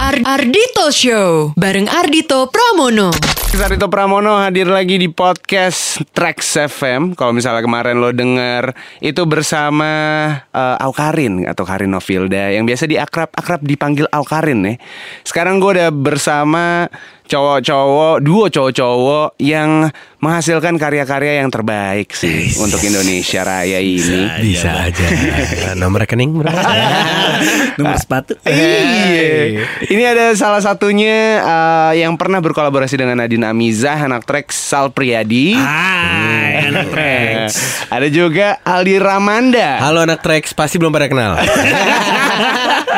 Ar- Ardito Show bareng Ardito Pramono. Sarito Pramono hadir lagi di podcast Trax FM. Kalau misalnya kemarin lo denger itu bersama eh, Aukarin atau Karin Novilda yang biasa di akrab akrab dipanggil Aukarin nih. Sekarang gue udah bersama cowok-cowok, duo cowok-cowok yang menghasilkan karya-karya yang terbaik sih untuk Indonesia Raya ini. Bisa aja. Eh, Nomor rekening berapa? nomor sepatu Iya. Ini ada salah satunya eh, yang pernah berkolaborasi dengan Nadine Amizah, anak track Sal Priyadi. Hai, anak Trax. Ada juga Aldi Ramanda. Halo anak Trax, pasti belum pada kenal.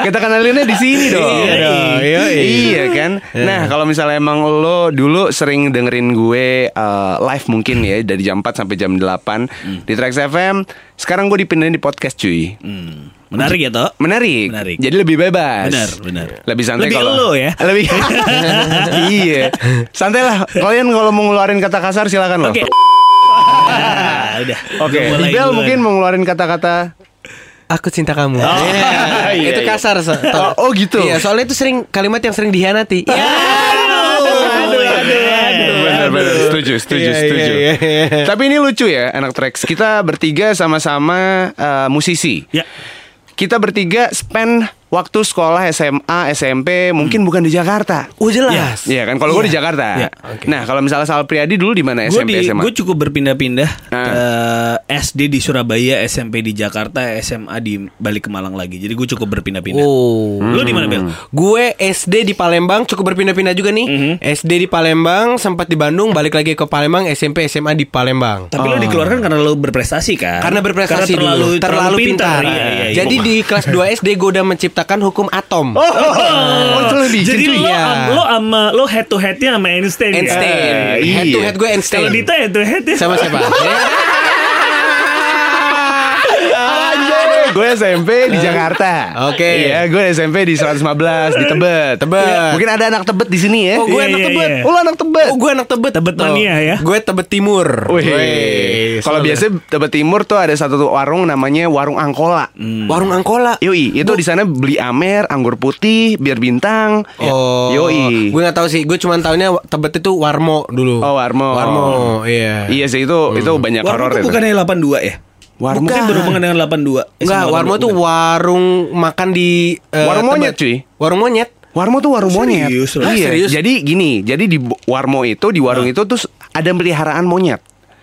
Kita kenalinnya di sini dong. Iya dong, yoi. Iya kan. Nah, kalau misalnya emang lo dulu sering dengerin gue eh, live mungkin ya dari jam 4 sampai jam 8 di Trax FM. Sekarang gue dipindahin di podcast cuy. Hmm, menarik ya toh Menarik. Menarik. Jadi lebih bebas. Benar, benar. Lebih santai Lebih kalau elo ya. Lebih. iya. Santai lah. Kalian kalau mau ngeluarin kata kasar silakan loh. oke Ah, udah Oke. Gua mulai Bel duluan. mungkin mau ngeluarin kata-kata Aku cinta kamu. Iya. iya, itu iya. kasar. so- Oh, oh, gitu. Iya, soalnya itu sering kalimat yang sering dihianati. Iya. aduh, aduh, aduh. Benar-benar setuju, setuju, Iya, iya, setuju. iya, iya. Tapi ini lucu ya, anak Trax. Kita bertiga sama-sama eh, musisi. ya Kita bertiga spend waktu sekolah SMA, SMP, mungkin bukan di Jakarta. Oh jelas. Yes. Iya kan, kalau gue di Jakarta. Iya. Oke. Nah, kalau misalnya Sal Priadi dulu di mana gue SMP, di SMA? gue cukup berpindah-pindah Ah. Eh, SD di Surabaya SMP di Jakarta SMA di balik ke Malang lagi jadi gue cukup berpindah-pindah Oh. lu di mana Bel Gue SD di Palembang cukup berpindah-pindah juga nih. SD di Palembang, sempat di Bandung, balik lagi ke Palembang, SMP SMA di Palembang. tapi lu dikeluarkan karena lu berprestasi kan Karena berprestasi Karena terlalu dulu, terlalu pintar. Iya, iya, iya. Jadi di kelas 2 SD gue udah menciptakan hukum Oh, atom. oh, oh, itu lebih jadi gitu ya. lo, Iya. lo sama lo head to headnya sama Einstein, kan? Einstein. iya. Head to head gue Einstein. Kalau Dita head to head ya. Sama siapa? Anjay, gue SMP di Jakarta. Oke. Iya, gue SMP di 115 di Tebet. Tebet. Mungkin ada anak Tebet di sini ya. Oh gue Iya, anak iya, tebet. iya. Oh, lo anak Tebet. Oh gue anak tebet. Tebet mania ya. Gue tebet timur. Wih, kalau biasa Tebet Timur tuh ada satu warung namanya Warung Angkola. Hmm. Warung Angkola. Yoi, itu di sana beli amer, anggur putih, bir bintang. Oh, Yoi. gue nggak tahu sih. Gue cuma tahunya wa- Tebet itu Warmo dulu. Oh, Warmo. Warmo, iya. Iya sih itu itu banyak Warmo horor tuh itu. bukannya 82 ya? Warmo. Mungkin berhubungan dengan 82. Eh, Enggak, sama Warmo 82, tuh bukan. warung makan di eh, Warung monyet, cuy. Warung monyet. Gitu Warmo tuh warung monyet. Serius, loh. Iya. Hah, serius? Jadi gini, jadi di bu- Warmo itu di warung itu terus ada peliharaan monyet.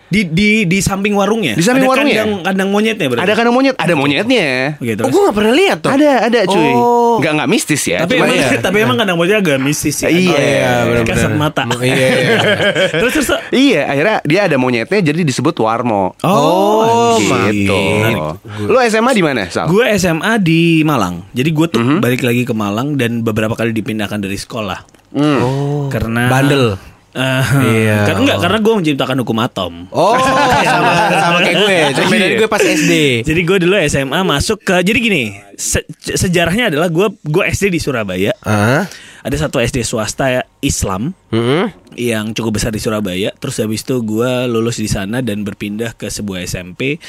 di di di samping warungnya. Di samping Ada warungnya? Kandang, kandang monyetnya berarti. Ada kandang monyet, ada monyetnya. Oke, Oh, terus. gue nggak pernah lihat tuh. Ada, ada cuy. Oh. Nggak nggak mistis ya. tapi cuma emang ya. tapi emang kandang monyetnya agak mistis sih. Iya, Agak- iya, benar-benar. Kasat mata. Mo- iya, iya. terus terus. terus. Iya, akhirnya dia ada monyetnya jadi disebut Warmo. Oh, gitu. Lu SMA di mana, Sal? Gue SMA di Malang. Jadi gue tuh balik lagi ke Malang dan beberapa kali dipindahkan dari sekolah. Oh. Karena Bandel. Eh, Iya. kar- enggak, karena gue menciptakan hukum atom. Oh, sama sama kayak gue. Iya. Cuma bedanya gue pas SD. Jadi gue dulu SMA masuk ke jadi gini se- sejarahnya adalah gue gue SD di Surabaya Ah. ada satu SD swasta Islam Hmm. yang cukup besar di Surabaya terus habis itu gue lulus di sana dan berpindah ke sebuah SMP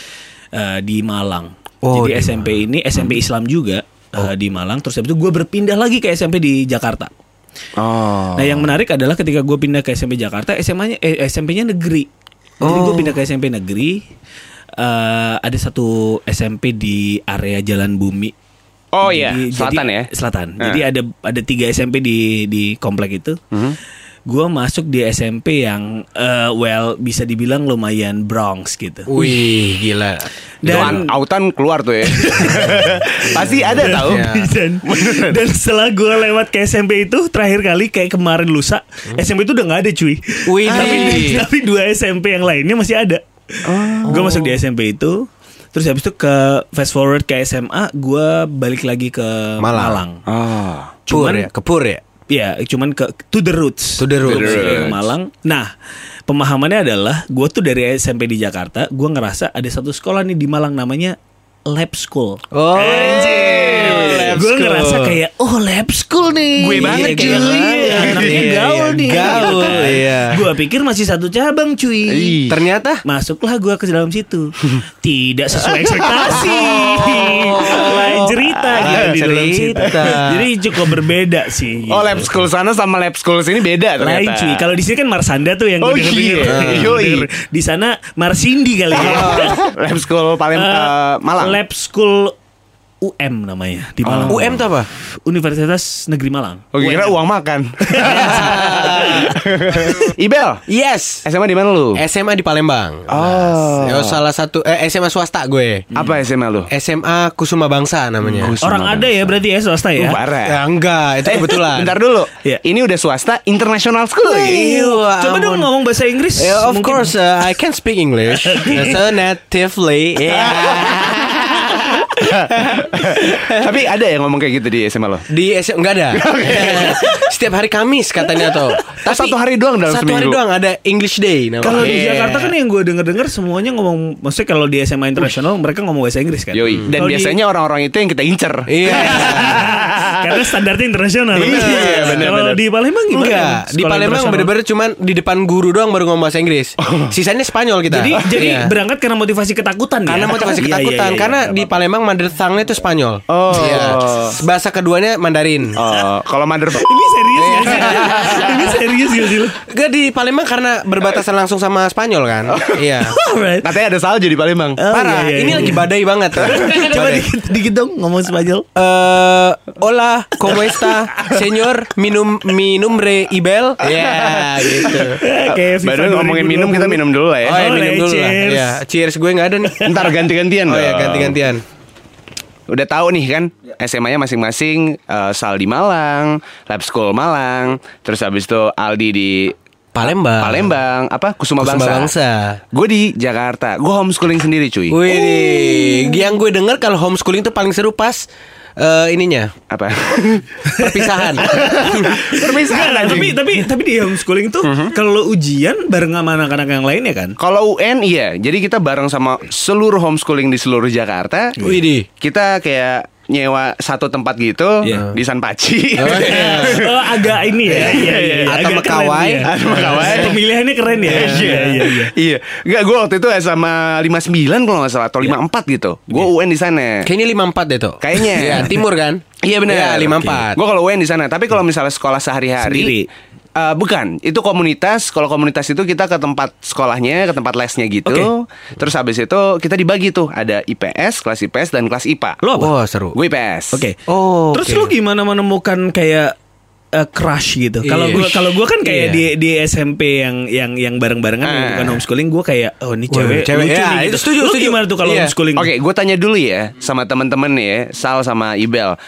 eh, di Malang Oh, di jadi Oh. SMP ini SMP Islam juga eh, di Malang terus habis itu gue berpindah lagi ke SMP di Jakarta Oh. Nah yang menarik adalah ketika gue pindah ke SMP Jakarta SMA-nya eh, SMP-nya negeri. Jadi Oh. gue pindah ke SMP negeri. eh, ada satu SMP di area Jalan Bumi. Oh iya, Jadi- selatan jadi- ya. Selatan. Eh. Jadi ada ada tiga SMP di di komplek itu. Mhm. Gue masuk di SMP yang eh, well bisa dibilang lumayan Bronx gitu. Wih, gila. Dan Dan autan keluar tuh ya. Iya. Pasti ada tahu. dan, dan setelah gue lewat ke SMP itu terakhir kali kayak kemarin lusa SMP itu udah nggak ada cuy Hmm. Wih, tapi, Hai. tapi dua SMP yang lainnya masih ada gue masuk di SMP itu terus habis itu ke fast forward ke SMA gue balik lagi ke Malang. Malang, Ah. Pur Cuman- ya, kepur ya. ya cuman ke to the roots To the roots. Balik lagi ke Malang nah pemahamannya adalah gue tuh dari SMP di Jakarta gue ngerasa ada satu sekolah nih di Malang namanya Lab School Oh, Anjir. Gue ngerasa kayak oh lab school nih. Gue banget kayak Iya, cuy. banget. Anaknya gitu. Iya, gaul iya. nih. Gaul, iya. Gue pikir masih satu cabang cuy. Ih. ternyata Masuklah gue ke dalam situ Tidak sesuai ekspektasi Lain cerita gitu cerita, di dalam situ. Oh. cerita. Jadi cukup berbeda sih. Oh lab school sana sama lab school sini beda Lain ternyata. cuy. Kalau di sini kan Marsanda tuh yang Oh, gue denger-denger. iya. Yoi. Yang Oh. denger. Di sana Marsindi kali ya. lab school paling eh, Malang. Lab School UM namanya di Malang. UM tuh apa? Universitas Negeri Malang. Oh kira uang makan. Ibel, Yes. SMA di mana lu? SMA di Palembang. Oh. Yo, salah satu eh, SMA swasta gue. Apa SMA lu? Eh, SMA Kusuma Bangsa namanya. Kus- Orang Sama ada ya berarti ya swasta ya. Parah. Ya enggak, itu Eh, kebetulan. Bentar dulu. Iya. Ini udah swasta international school lagi. Iya, Coba dong ampun. ngomong bahasa Inggris. Eh, of mungkin. course, uh, I can speak English so natively. Yeah. Tapi ada yang ngomong kayak gitu di SMA lo. Di SM enggak ada. Setiap hari Kamis katanya Oh, tuh. Tapi satu hari doang dalam Satu hari seminggu? doang ada English Day namanya. Kalau di Iya. Jakarta kan yang gue denger-denger semuanya ngomong maksudnya kalau di SMA internasional mereka ngomong bahasa Inggris kan. Yoi. Dan Kalau di- biasanya orang-orang itu yang kita incer. Hmm. Iya. Karena standarnya internasional. Iya, bener, Kalau bener. di Palembang gimana? Enggak, Sekolah di Palembang internasional. Oh. bener-bener cuman di depan guru doang baru ngomong bahasa Inggris. Sisanya Spanyol kita. Jadi Iya. jadi berangkat karena motivasi ketakutan ya? karena motivasi Iya, iya, ketakutan iya, karena nggak di apa-apa. Palembang mother tongue-nya itu Spanyol. Oh. Iya. Bahasa keduanya Mandarin. Oh, kalau mother ini serius gak sih? ini serius gak sih lo? Enggak di Palembang karena berbatasan langsung sama Spanyol kan. Iya. Alright. katanya ada salju di Palembang. Oh, Parah, iya, iya, ini iya. lagi badai banget. Coba Badai. dikit, dikit dong ngomong Spanyol. Eh, hola, ¿cómo está, señor? Minum, mi nombre Ibel. Ya, gitu. Kayak FIFA Baru ngomongin minum kita 2020. minum dulu lah ya. Oh, ya, minum Boleh, dulu lah. Eh, cheers. Ya, cheers gue nggak ada nih. Ntar ganti-gantian Oh ya, dong. ganti-gantian. Udah tahu nih kan SMA-nya masing-masing eh, Sal di Malang, Lab School Malang, terus habis itu Aldi di Palembang. Palembang, apa Kusuma, Ah. Kusuma Bangsa. Bangsa. Gue di Jakarta. Gue homeschooling sendiri cuy. Wih, nih, yang gue dengar kalau homeschooling tuh paling seru pas eh, ininya Apa? kan, perpisahan. Enggak lah, Nah, tapi tapi tapi di homeschooling tuh kalau lo ujian bareng sama anak-anak yang lainnya kan. Kalau UN iya, jadi kita bareng sama seluruh homeschooling di seluruh Jakarta. Widih. Kita kayak nyewa satu tempat gitu Iya. di San Paci. Oh, iya. Oh, agak ini ya. Iya, iya, iya. Atau Agak Mekawai. keren ya. Atau Mekawai. Pemilihannya keren ya. Iya, iya, iya. Iya. Enggak, gue waktu itu SMA 59 kalau nggak salah atau 54 gitu. Gue UN di sana. Kayaknya 54 deh tuh. Eh. Kayaknya. Iya, timur kan? Iya benar. Iya. Iya, 54. Gue kalau UN di sana, tapi kalau misalnya sekolah sehari-hari Sendiri. eh, bukan, itu komunitas. Kalau komunitas itu kita ke tempat sekolahnya, ke tempat lesnya gitu. Terus habis itu kita dibagi tuh, ada IPS, kelas IPS dan kelas IPA. Lo apa? Wah, seru. Gue IPS. Oke. Oh, Terus oke. lu gimana menemukan kayak eh, crush gitu. Kalau Iya. gua kalau gua kan Iya. kayak di di SMP yang yang yang bareng-barengan Ah. bukan homeschooling gua kayak oh ini Wah, cewek, cewek, lucu ya, nih itu gitu. setuju, Lu setuju. gimana tuh kalau Iya. homeschooling? Oke, gue tanya dulu ya sama temen-temen nih ya, Sal sama Ibel.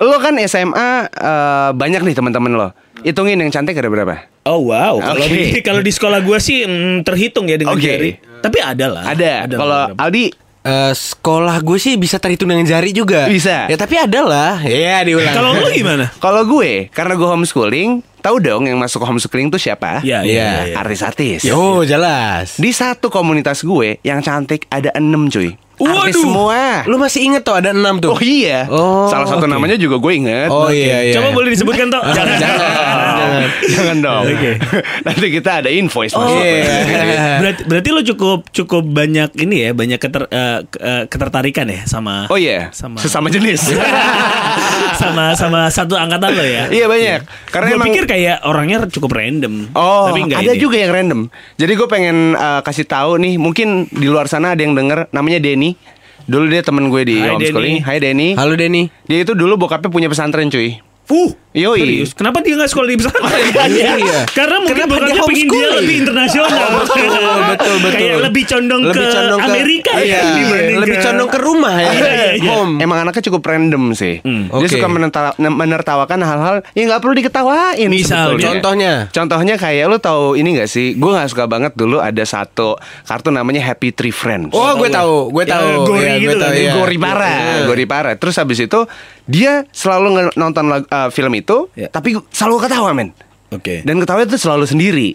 Lo kan SMA eh, banyak nih teman-teman lo. Hitungin yang cantik ada berapa? Oh wow. Kalau Oke. di kalau di sekolah gua sih mm, terhitung ya dengan Oke. jari. Tapi ada lah. Ah, Ada. lah Kalau beberapa. Aldi Eh, sekolah gue sih bisa terhitung dengan jari juga. Bisa. Ya tapi ada lah. Iya diulang. kalau lu gimana? Kalau gue, karena gue homeschooling, tahu dong yang masuk homeschooling tuh siapa? Iya, iya, iya, iya. Artis-artis. Yo jelas. Di satu komunitas gue yang cantik ada enam cuy. Artis semua. Lu masih inget tuh ada enam tuh. Oh iya. Oh, Salah satu oke. namanya juga gue inget. Oh iya iya. Coba boleh disebutkan toh? Jangan. Jangan. Jangan dong. Oke. Nanti kita ada invoice. Oh, masuk. Iya. berarti, berarti lo cukup cukup banyak ini ya, banyak keter- eh, ke- eh, ketertarikan ya sama Oh iya. Sama- Sesama jenis. sama sama satu angkatan lo ya. Iya banyak. Karena Gue emang pikir kayak orangnya cukup random. Oh, tapi enggak ada ini. juga yang random. Jadi gue pengen uh, kasih tahu nih, mungkin di luar sana ada yang denger namanya Denny. Dulu dia temen gue di Hai, homeschooling. Denny. Hai Denny. Halo Denny. Dia itu dulu bokapnya punya pesantren cuy. Uh, Yoi. serius. Kenapa dia nggak sekolah di pesantren? Iya. Karena Kenapa mungkin dia bokapnya pengen dia homeschooling? Oh, lebih internasional. Betul, betul, betul. Kayak lebih condong Lebih ke condong Amerika iya, ya dibanding Lebih ke- condong ke rumah ya. Iya, iya, iya. Home. Emang anaknya cukup random sih. Hmm. Dia Oke. suka menenta- menertawakan hal-hal yang nggak perlu diketawain. Misal, sebetulnya. contohnya? Iya. Contohnya kayak lu tahu ini nggak sih? Gue nggak suka banget dulu ada satu kartu namanya Happy Tree Friends. Oh, gue tahu, gue Ya, tahu. gori Iya, gue gitu tahu, kan, iya. Gori parah, gori parah. Terus habis itu dia selalu nge- nonton lag- eh, film itu, Iya. tapi selalu ketawa men. Oke. Dan ketawa itu selalu sendiri.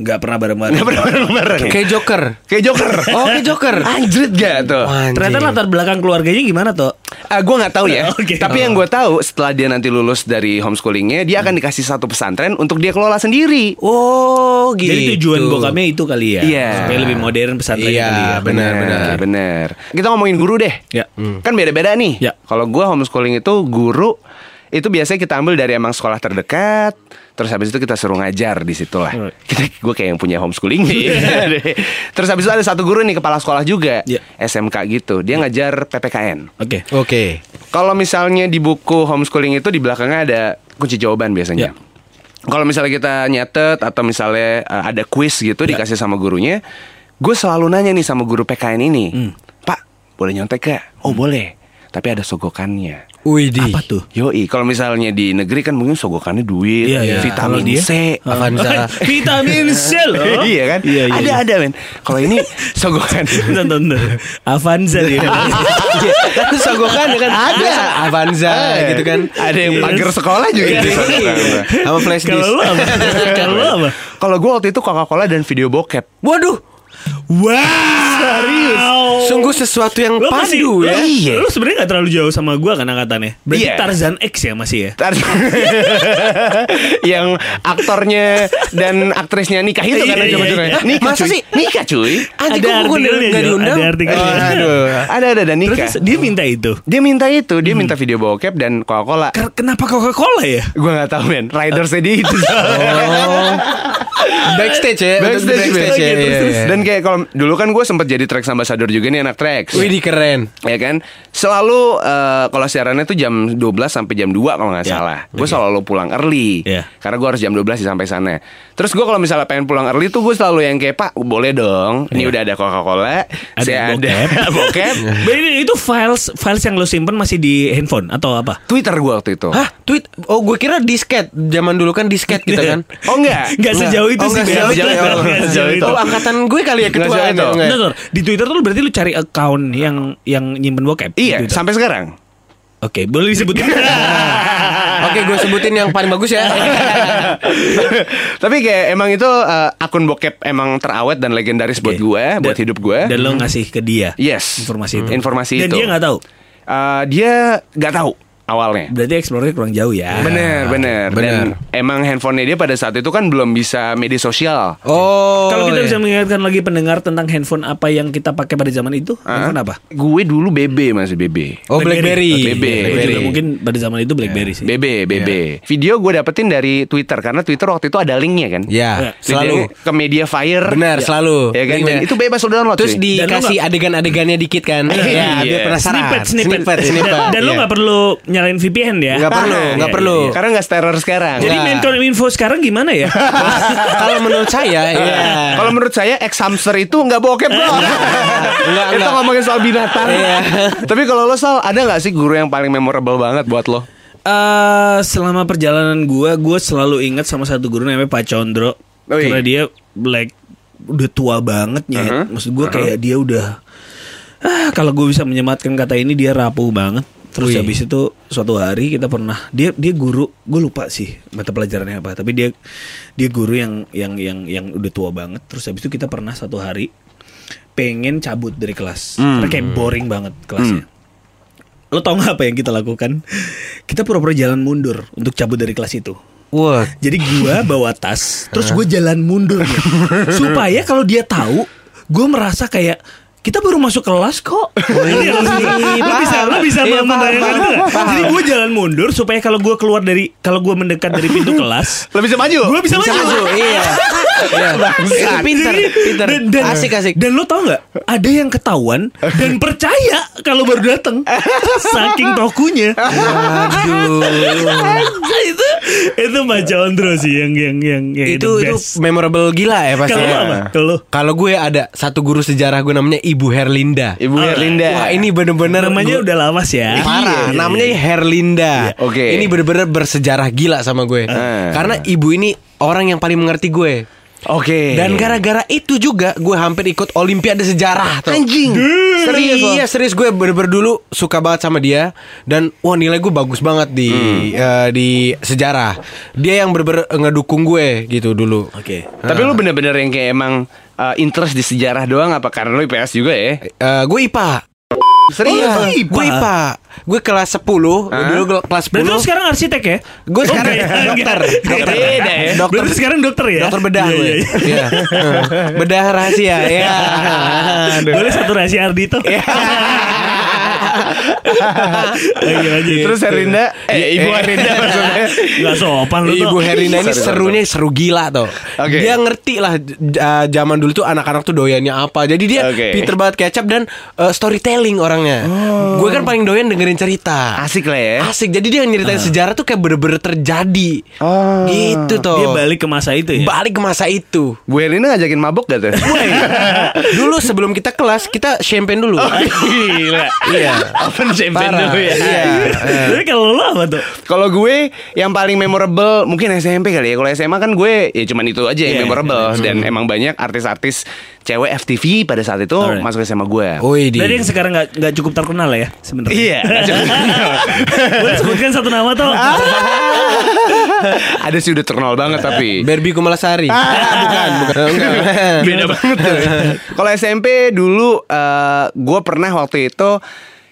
nggak pernah bareng-bareng. Nggak pernah bareng-bareng. Kayak Joker. Kayak Joker. Oh, kayak Joker. Anjrit gak tuh? Anjing. Ternyata latar belakang keluarganya gimana toh? Ah, gue nggak tahu ya. Oke. Tapi Oh. yang gue tahu setelah dia nanti lulus dari homeschoolingnya, dia akan Hmm. dikasih satu pesantren untuk dia kelola sendiri. Oh, gitu. Jadi tujuan bokapnya itu kali ya. Iya. Supaya lebih modern pesantren Iya, kali ya. benar, benar. Oke. benar. Kita ngomongin guru deh. Ya. Kan beda-beda nih. Ya. Kalau gua homeschooling itu guru itu biasanya kita ambil dari emang sekolah terdekat, terus habis itu kita suruh ngajar di situ lah. Alright. Kita gue kayak yang punya homeschooling nih. terus habis itu ada satu guru nih kepala sekolah juga, Ya. SMK gitu. Dia ngajar PPKN. Oke. Oke. Kalau misalnya di buku homeschooling itu di belakangnya ada kunci jawaban biasanya. Ya. Kalau misalnya kita nyatet atau misalnya uh, ada quiz gitu Ya. dikasih sama gurunya, gue selalu nanya nih sama guru PKN ini, Hmm. Pak boleh nyontek gak? Oh boleh, tapi ada sogokannya. Widih. Apa tuh? Yoi, kalau misalnya di negeri kan mungkin sogokannya duit, Iya, iya. vitamin Kalau dia, C, Ah. Avanza. Vitamin C loh. iya kan? Iya, iya. ada iya. ada men. Kalau ini sogokan. Bentar, bentar, bentar. Avanza dia. Aku sogokan ya kan ada Avanza gitu kan. Eh, Ada yang pagar sekolah juga gitu. Iya, di iya. sogokan. Sama flash Kalau disk. lu apa? Kalau lu apa? Kalau gue waktu itu Coca-Cola dan video bokep. Waduh, Wow. Serius. sungguh sesuatu yang Lo masih- pandu ya. lo- Iya. Lo sebenarnya gak terlalu jauh sama gua kan angkatannya. Berarti Iya. Tarzan X ya masih ya. Tar- yang aktornya dan aktrisnya nikah itu kan Iya, iya, ujung-ujungnya. iya. Nikah Masa cuy. sih? Nikah cuy. Oh, Anjing kok Ada gue artikelnya, nggak Jo. diundang? Ada artikelnya. Eh, Aduh, ada ada dan nikah. iya. Terus Hmm. dia minta itu. Dia minta itu, dia minta video bokep dan Coca-Cola. Ker- Kenapa Coca-Cola ya? Gue gak tahu men, ridersnya dia itu. Oh, Backstage ya, untuk di Backstage, backstage men. ya. Oke, iya, terus, iya. Dan kayak kalau dulu kan gue sempat jadi track ambassador juga nih anak tracks. Widih keren. ya kan selalu eh, kalau siarannya tuh jam 12 sampai jam 2 kalau nggak Ya. salah gue selalu pulang early Ya. karena gue harus jam 12 sih sampai sana terus gue kalau misalnya pengen pulang early tuh gue selalu yang kayak pak boleh dong ini udah ada coca cola Ya. Ada saya bokep. ada bokep Berarti itu files files yang lo simpen masih di handphone atau apa? twitter gue waktu itu Hah, tweet? Oh, gue kira disket. Zaman dulu kan disket gitu kan. oh enggak Nggak sejauh itu Oh, sih. nggak sejauh itu. Bel. Nggak Nggak sejauh itu. Oh, angkatan gue kali ya Nggak ketua. sejauh itu. Nggak. Bentar, bentar. di Twitter tuh berarti lu cari account yang yang nyimpen bokep. iya Di Twitter. sampai sekarang Oke, boleh disebutin. Oke, gue sebutin yang paling bagus ya. Tapi kayak emang itu eh, akun bokep emang terawet dan legendaris buat Oke. gue, buat Dan- hidup gue. Dan lo ngasih ke dia. Yes. Hmm. Informasi itu. Informasi Dan itu. dia nggak tahu. Eh, dia nggak tahu awalnya. Berarti explore-nya kurang jauh ya. Bener, bener, Ah, bener. Dan emang handphonenya dia pada saat itu kan belum bisa media sosial. Oh. Kalau kita iya. bisa mengingatkan lagi pendengar tentang handphone apa yang kita pakai pada zaman itu, handphone apa? Gue dulu BB masih BB. Ah. Oh, BlackBerry. Ya. BB. Itu Blackberry. juga mungkin pada zaman itu BlackBerry sih. BB, BB. iya. Video gue dapetin dari Twitter karena Twitter waktu itu ada linknya kan. Ya, Jadi selalu. ke media fire. Benar, selalu. Ya kan. Linknya. Dan itu bebas udah download. cuy. Terus Dan lo dikasih adegan-adegannya dikit kan. Iya. Iya, biar penasaran. Snippet, snippet, snippet. Dan, dan lo iya. nggak perlu nyalain VPN ya. iya, Nggak perlu, Tahan. nggak perlu. Iya, Nah. Karena nggak teror sekarang. Iya. Jadi Nggak. maincon info sekarang gimana ya? Kalau menurut saya, iya. Kalau menurut saya ex hamster itu nggak bokep bro. Enggak, Itu enggak. ngomongin soal binatang. Iya. Tapi kalau lo Sal, ada nggak sih guru yang paling memorable banget buat lo? Eh, selama perjalanan gua, gua selalu ingat sama satu guru namanya Pak Condro. Oh, iya. Karena dia black udah tua banget ya. Uh-huh. Maksud gua kayak dia udah ah, kalau gue bisa menyematkan kata ini dia rapuh banget. Oh, Terus iya. habis itu suatu hari kita pernah dia dia guru, gue lupa sih mata pelajarannya apa, tapi dia dia guru yang yang yang yang udah tua banget. Terus habis itu kita pernah satu hari pengen cabut dari kelas. Karena kayak Hmm. boring banget kelasnya lo tau gak apa yang kita lakukan? Kita pura-pura jalan mundur untuk cabut dari kelas itu. Wah, Jadi gua bawa tas, terus gue jalan mundur Nya. supaya kalau dia tahu, gue merasa kayak kita baru masuk kelas kok. Ini yang maksudnya. lo bisa lo bisa Oh, Iya, paham, membayangkan paham, itu nggak? paham. Jadi gue jalan mundur supaya kalau gue keluar dari kalau gue mendekat dari pintu kelas, Lebih bisa maju. gue bisa, bisa maju, maju. iya. Iya. Itu pinter, Jadi, pinter. Dan, dan- Asik, asik. Dan lo tau nggak? Ada yang ketahuan dan percaya kalau baru datang, saking tokunya. Iya. Nah, Aduh. itu itu Pak Condro sih yang yang yang, yang itu Iya, the itu best. memorable gila ya pasti. Kalau lu ya. apa? Iya. Kalau lu? Kalau gue ada satu guru sejarah gue namanya Ibu Herlinda. Ibu Ah. Herlinda. Wah ini bener-bener namanya gua- udah lawas ya. Parah, nah. Iya. namanya Herlinda. Oke. Ini bener-bener bersejarah gila sama gue. Eh. Karena ibu ini orang yang paling mengerti gue. Oke. Dan gara-gara itu juga gue hampir ikut Olimpiade Sejarah. Tuh. Anjing. Serius, Serius lo? iya serius gue bener-bener dulu suka banget sama dia dan wah nilai gue bagus banget di Hmm. eh, di sejarah. Dia yang bener-bener ngedukung gue gitu dulu. Oke. Tapi lu bener-bener yang kayak emang uh, interest di sejarah doang apa karena lu IPS juga ya? Oh, Eh, gue IPA. Oh, Serius? Iya, Gue IPA. Gue kelas 10, dulu gel- kelas Berarti lu 10. sekarang arsitek ya? Gue sekarang Oke. dokter, dokter. Beda ya. Dokter. Berarti sekarang dokter ya? Dokter bedah Iya, gue. iya, iya. Iya. Eh, Bedah rahasia. Ya. Boleh satu rahasia Ardito. Lagi lagi. Iya, Terus Herinda, eh Ibu Herinda maksudnya. Gak sopan lu Ibu tuh. Herina Sorry, ini sorry, serunya seru gila tuh. Oke. Dia ngerti lah j- j- zaman dulu tuh anak-anak tuh doyannya apa. Jadi dia Oke. pinter banget kecap dan eh, storytelling orangnya. Oh. Gue kan paling doyan dengerin cerita. Asik lah ya. Asik. Jadi dia nyeritain Ah. sejarah tuh kayak bener-bener terjadi. Oh. Gitu tuh. Dia balik ke masa itu ya. Balik ke masa itu. Bu Herina ngajakin mabok gak tuh? dulu sebelum kita kelas kita champagne dulu. Oh, Gila. Iya. Open champagne Parah. dulu ya. Iya. Tapi kalau lu apa tuh? Kalau gue yang paling memorable mungkin SMP kali ya. Kalau SMA kan gue ya cuman itu aja yang Iya, memorable dan emang banyak artis-artis cewek FTV pada saat itu Alright. masuk SMA gue. Woi di. Dari yang sekarang gak, nggak cukup terkenal lah ya sebenarnya. Iya. Boleh sebutkan satu nama tuh. Ah. Ada sih udah terkenal banget tapi. Barbie Kumalasari. Ah, Ah. bukan, bukan. Enggak. beda banget tuh. kalau SMP dulu eh, gue pernah waktu itu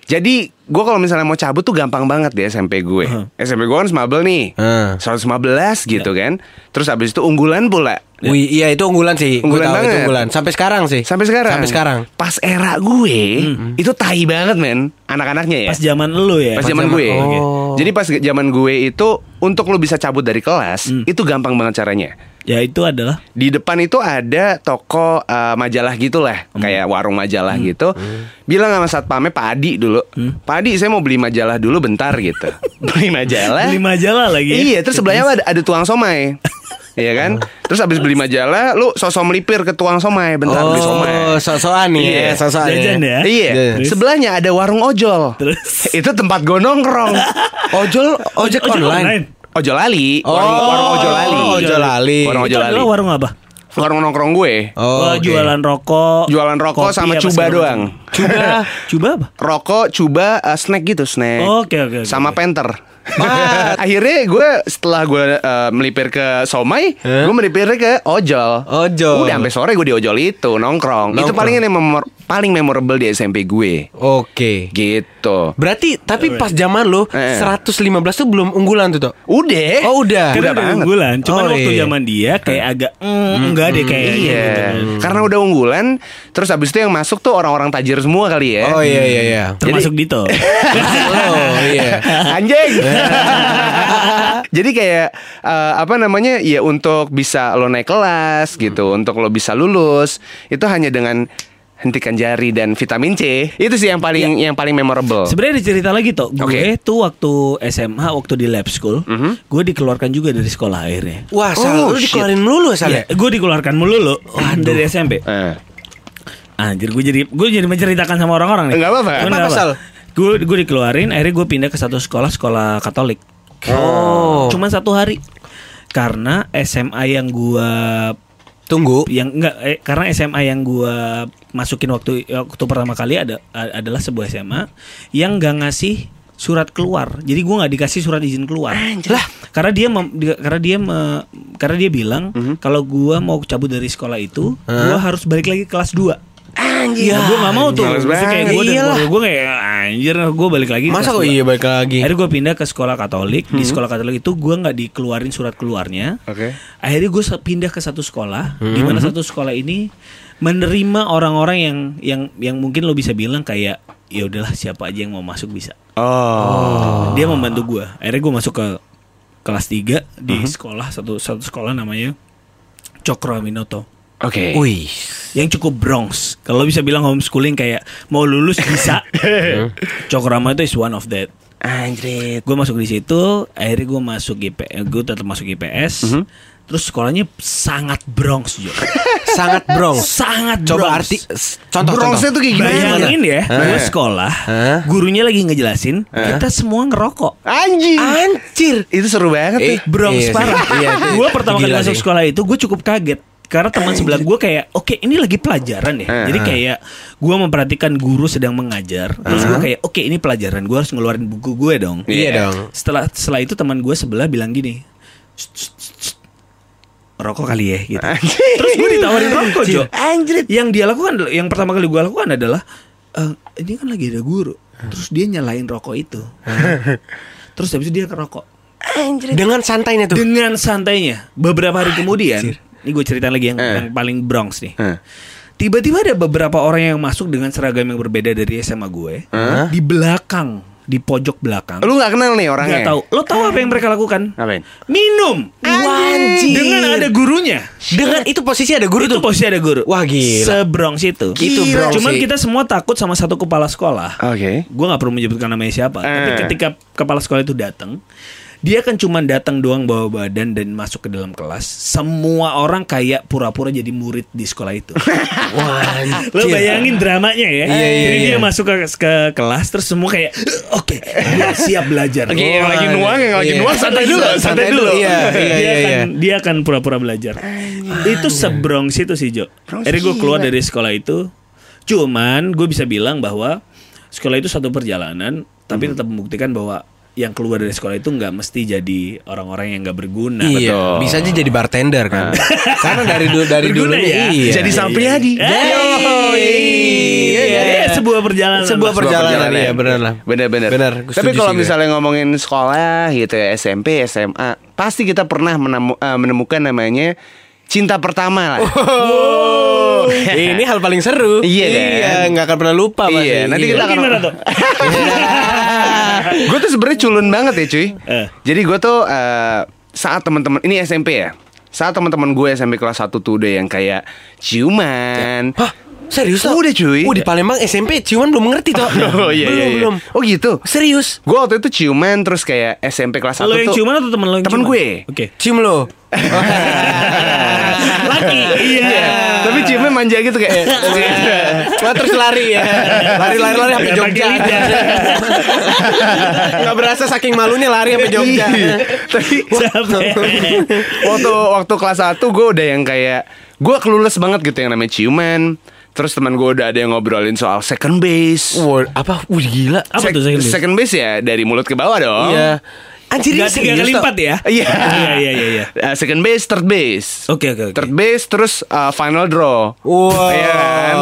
jadi gue kalau misalnya mau cabut tuh gampang banget di SMP gue. SMP gue kan semabel nih. Heeh. 115 gitu kan. Terus abis itu unggulan pula. Wih, iya itu unggulan sih. Gua Unggulan tahu itu banget. unggulan. Sampai sekarang sih. Sampai sekarang. Sampai sekarang. Pas era gue, itu tai banget men anak-anaknya ya. Pas zaman lu ya. Pas zaman zaman- gue. Oke. Jadi pas zaman gue itu untuk lo bisa cabut dari kelas, itu gampang banget caranya. Ya itu adalah Di depan itu ada toko eh, majalah gitulah, kayak warung majalah gitu. Bilang sama satpamnya Pak Adi dulu. Pak Adi, saya mau beli majalah dulu bentar gitu. beli majalah. beli majalah lagi. ya. Iya, terus sebelahnya ada, ada tuang somai. Iya kan? Terus abis beli majalah, lu sosok melipir ke tuang somai bentar beli somai. Oh, so-soan nih. Iya. ya, so-soan ya. Jajan ya. Iya, Terus? sebelahnya ada warung ojol. Terus? Itu tempat gue nongkrong. Ojol, ojek Ojek online. online. Ojol Ali, warung, Oh, warung ojol Ali. ojol Ali. Warung Itu ojol Ali. adalah warung apa? Warung nongkrong gue. Wah, Oh, oke. jualan rokok. Oh, Jualan rokok kopi sama apa cuba segala macam. doang. Cuba, cuba apa? Rokok, cuba, eh, snack gitu, snack. Oke, oke, oke. Sama penter. Akhirnya gue setelah gue eh, melipir ke somai, gue melipir ke ojol. Ojol. Udah sampai sore gue di ojol itu nongkrong. Itu Nongkrong. paling yang memor- paling memorable di SMP gue. Oke. Gitu. Berarti tapi pas zaman lu Eh. 115 tuh belum unggulan tuh, Tok. Udah. Oh, udah. Udah Ah, Karena udah banget. Hmm. unggulan, cuman Oh, waktu iya. zaman dia kayak agak mm, enggak deh Gitu. kayak Iya, karena udah unggulan, terus abis itu yang masuk tuh orang-orang tajir semua kali ya. Oh iya iya iya. Termasuk Dito. oh iya. Anjing. Jadi kayak eh, apa namanya ya untuk bisa lo naik kelas gitu, Hmm. untuk lo bisa lulus itu hanya dengan hentikan jari dan vitamin C. Itu sih yang paling Ya. yang paling memorable. Sebenarnya ada cerita lagi toh. Gue Oh. Oke. tuh waktu SMA, waktu di lab school, gue dikeluarkan juga dari sekolah akhirnya. Iya, Oh, Wah, Sal, lu shit. Iya. dikeluarin dulu, Sal. ya? gue dikeluarkan mulu lo dari SMP. Eh. Anjir, gue jadi gue jadi menceritakan sama orang-orang nih. Nggak apa-apa. Gua nggak Apa, Sal? Gue gue dikeluarin, akhirnya gue pindah ke satu sekolah sekolah Katolik. Oh. Cuman satu hari. Karena SMA yang gua Tunggu. yang enggak eh, karena SMA yang gua masukin waktu waktu pertama kali ada a- adalah sebuah SMA yang enggak ngasih surat keluar. Jadi gua nggak dikasih surat izin keluar. Lah, karena dia mem- di- karena dia me- karena dia bilang Mhm. kalau gua mau cabut dari sekolah itu, gua harus balik lagi ke kelas 2. Anjir. Nah, gua nggak mau tuh. Males Maksudnya kayak banget. gua dan Iyalah. keluarga gua kayak anjir gua balik lagi ke Masa kelas kok dua." iya balik lagi? Akhirnya gue pindah ke sekolah Katolik. Di sekolah Katolik itu gue nggak dikeluarin surat keluarnya. Oke. Akhirnya gue pindah ke satu sekolah. Di mana satu sekolah ini menerima orang-orang yang yang yang mungkin lo bisa bilang kayak ya udahlah siapa aja yang mau masuk bisa. Oh. Dia membantu gue. Akhirnya gue masuk ke kelas 3 di sekolah satu satu sekolah namanya Cokro Aminoto Oke. Wih. yang cukup Bronx. Kalau bisa bilang homeschooling kayak mau lulus bisa. Cokrama itu is one of that. Anjrit. Gue Eh, masuk di situ, akhirnya gue masuk IPS, gue tetap masuk IPS. Mhm. Terus sekolahnya sangat Bronx, Jo. Sangat brongs. sangat Coba Bronx. arti contoh Bronxnya contoh. tuh kayak gimana? Bayangin ya, gue sekolah, Hah? gurunya lagi ngejelasin, kita semua ngerokok. Anjing. Anjir. Itu seru banget tuh. Eh, Bronx Iya sih. parah. Iya, itu gue pertama kali gila masuk sih. Eh, iya. sekolah itu gue cukup kaget karena teman sebelah gue kayak oke ini lagi pelajaran ya jadi kayak gue memperhatikan guru sedang mengajar terus gue kayak oke ini pelajaran gue harus ngeluarin buku gue dong Eh. Iya Iya. dong. setelah setelah itu teman gue sebelah bilang gini "Sst, sst, sst, rokok kali ya gitu terus gue ditawarin rokok jo yang dia lakukan adalah- yang pertama kali gue lakukan adalah "Eh, ini kan lagi ada guru Eh. terus dia nyalain rokok itu terus habis itu dia ngerokok Dengan santainya tuh. Ah, dengan santainya beberapa hari kemudian ini gue ceritain Eh. lagi yang, yang paling bronx nih Eh. tiba-tiba ada beberapa orang yang masuk dengan seragam yang berbeda dari SMA gue di belakang di pojok belakang Lu nggak kenal nih orangnya? nggak tahu lo tahu apa yang mereka lakukan Ngapain? minum Anjir. dengan ada gurunya Dengan itu posisi ada guru itu tuh. posisi ada guru Wah, gila. sebrongs itu Itu Gila. brongs cuman sih. kita semua takut sama satu kepala sekolah Oke. gue nggak perlu menyebutkan namanya siapa tapi Eh. ketika kepala sekolah itu datang dia kan cuman datang doang bawa badan dan masuk ke dalam kelas semua orang kayak pura-pura jadi murid di sekolah itu Wah. lo anjir. bayangin dramanya Iya, ya iya, jadi iya. dia masuk ke, ke kelas terus semua kayak "Eh, oke gue siap belajar Oke, yang lagi nuang, yang lagi Iya. nuang santai dulu, santai dulu. Iya, iya, dia iya, iya. akan dia akan pura-pura belajar. Itu sebrong situ sih Jo. Akhirnya gue iya. keluar dari sekolah itu. Cuman gue bisa bilang bahwa sekolah itu satu perjalanan, Hmm. tapi tetap membuktikan bahwa yang keluar dari sekolah itu nggak mesti jadi orang-orang yang nggak berguna. Iya, bisa aja jadi bartender kan. Karena dari dulu dari dulu Berguna ya. iya. Jadi Sapriadi. Hey! Iya, iya, iya. sebuah perjalanan. Sebuah Mas. perjalanan, iya, benar lah. Benar-benar. Benar, gue Tapi setuju kalau sih gue. misalnya ngomongin sekolah gitu ya SMP, SMA, pasti kita pernah menemu- eh, menemukan namanya cinta pertama lah. Oh, ini hal paling seru. Iya, iya kan? nggak akan pernah lupa pasti. Iya, nanti Iya. kita Lu akan gimana tuh? gue tuh sebenarnya culun banget ya cuy. Eh. Jadi gue tuh eh, saat teman-teman ini SMP ya, saat teman-teman gue SMP kelas 1 tuh udah yang kayak ciuman. Hah, serius toh? Udah, cuy. Oh, di Palembang SMP ciuman belum ngerti toh. Oh iya, belum, iya, iya. belum. Oh gitu. Serius. Gue waktu itu ciuman terus kayak SMP kelas 1 Lo yang tuh. ciuman atau temen lo yang Temen ciuman? gue. Oke. Cium lo. Laki. Iya. Tapi ciumnya manja gitu kayak. Wah Iya. terus lari ya Lari lari lari sampai Nggak pakai Jogja lidah. Nggak berasa saking malunya lari Iya. sampai Jogja Tapi Sampai- waktu waktu kelas 1 gue udah yang kayak gue kelulus banget gitu yang namanya ciuman. Terus teman gue udah ada yang ngobrolin soal second base. Wah apa Wih gila Apa Sek- tuh second base? ya dari mulut ke bawah dong. Iya Anjir ini Nggak tiga serius, kali toh? lipat ya? Iya. Iya iya iya. iya. Eh, second base, third base. Oke oke oke. Third base terus eh, final draw. Wah. Iya kan?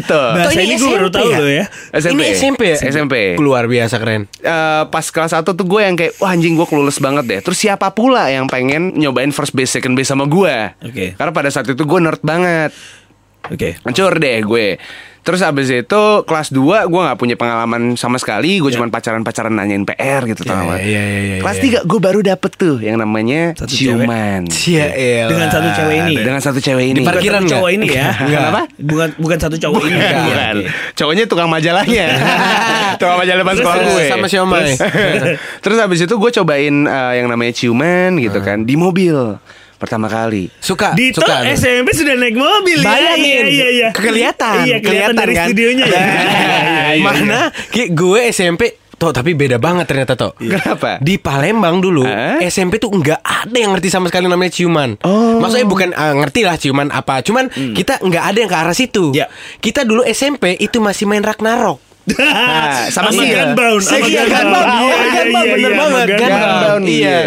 Gitu. Toh, Bahasa ini gue baru SMP tahu lo ya. SMP. Ini SMP ya? SMP. Keluar biasa keren Eh, pas kelas 1 tuh gue yang kayak Wah anjing gue kelulus banget deh Terus siapa pula yang pengen nyobain first base second base sama gue Oke. Karena pada saat itu gue nerd banget Oke. Hancur deh gue Terus abis itu kelas 2 gue gak punya pengalaman sama sekali Gue cuman pacaran-pacaran nanyain PR gitu tau gak? iya, iya, iya, Kelas iya. 3 gue baru dapet tuh yang namanya Satu cewek. ciuman Iya elah. Dengan satu cewek ini. Dengan satu cewek ini Di parkiran. Bukan satu cowok ini ya. Enggak. Kenapa? Bukan bukan satu cowok ini. Bukan. Iya, Bukan. oke. Cowoknya tukang majalahnya Tukang majalah depan Terus, sekolah terus, gue Sama si Omai Gitu. Terus habis itu gue cobain eh, yang namanya ciuman gitu kan di mobil pertama kali. Suka Dito Suka tuh. SMP sudah naik mobil ya. Bayangin, Iya, iya, iya. kelihatan, Iya, kelihatan, dari kan? studionya ya. Iya, iya, iya. Mana Ki, gue SMP Toh tapi beda banget ternyata toh. Iya. Kenapa? Di Palembang dulu Hah? SMP tuh nggak ada yang ngerti sama sekali namanya ciuman. Oh. Hmm. Maksudnya bukan ah, ngerti lah ciuman apa. Cuman kita nggak ada yang ke arah situ. Ya. Kita dulu SMP itu masih main Ragnarok. Nah, sama Sama sih ya. Gunbound, sama Iya, Gunbound. Gunbound. Iya, Iya, iya, Gunbound, iya, bener iya, banget. sama Gunbound. Gunbound, Iya. Iya.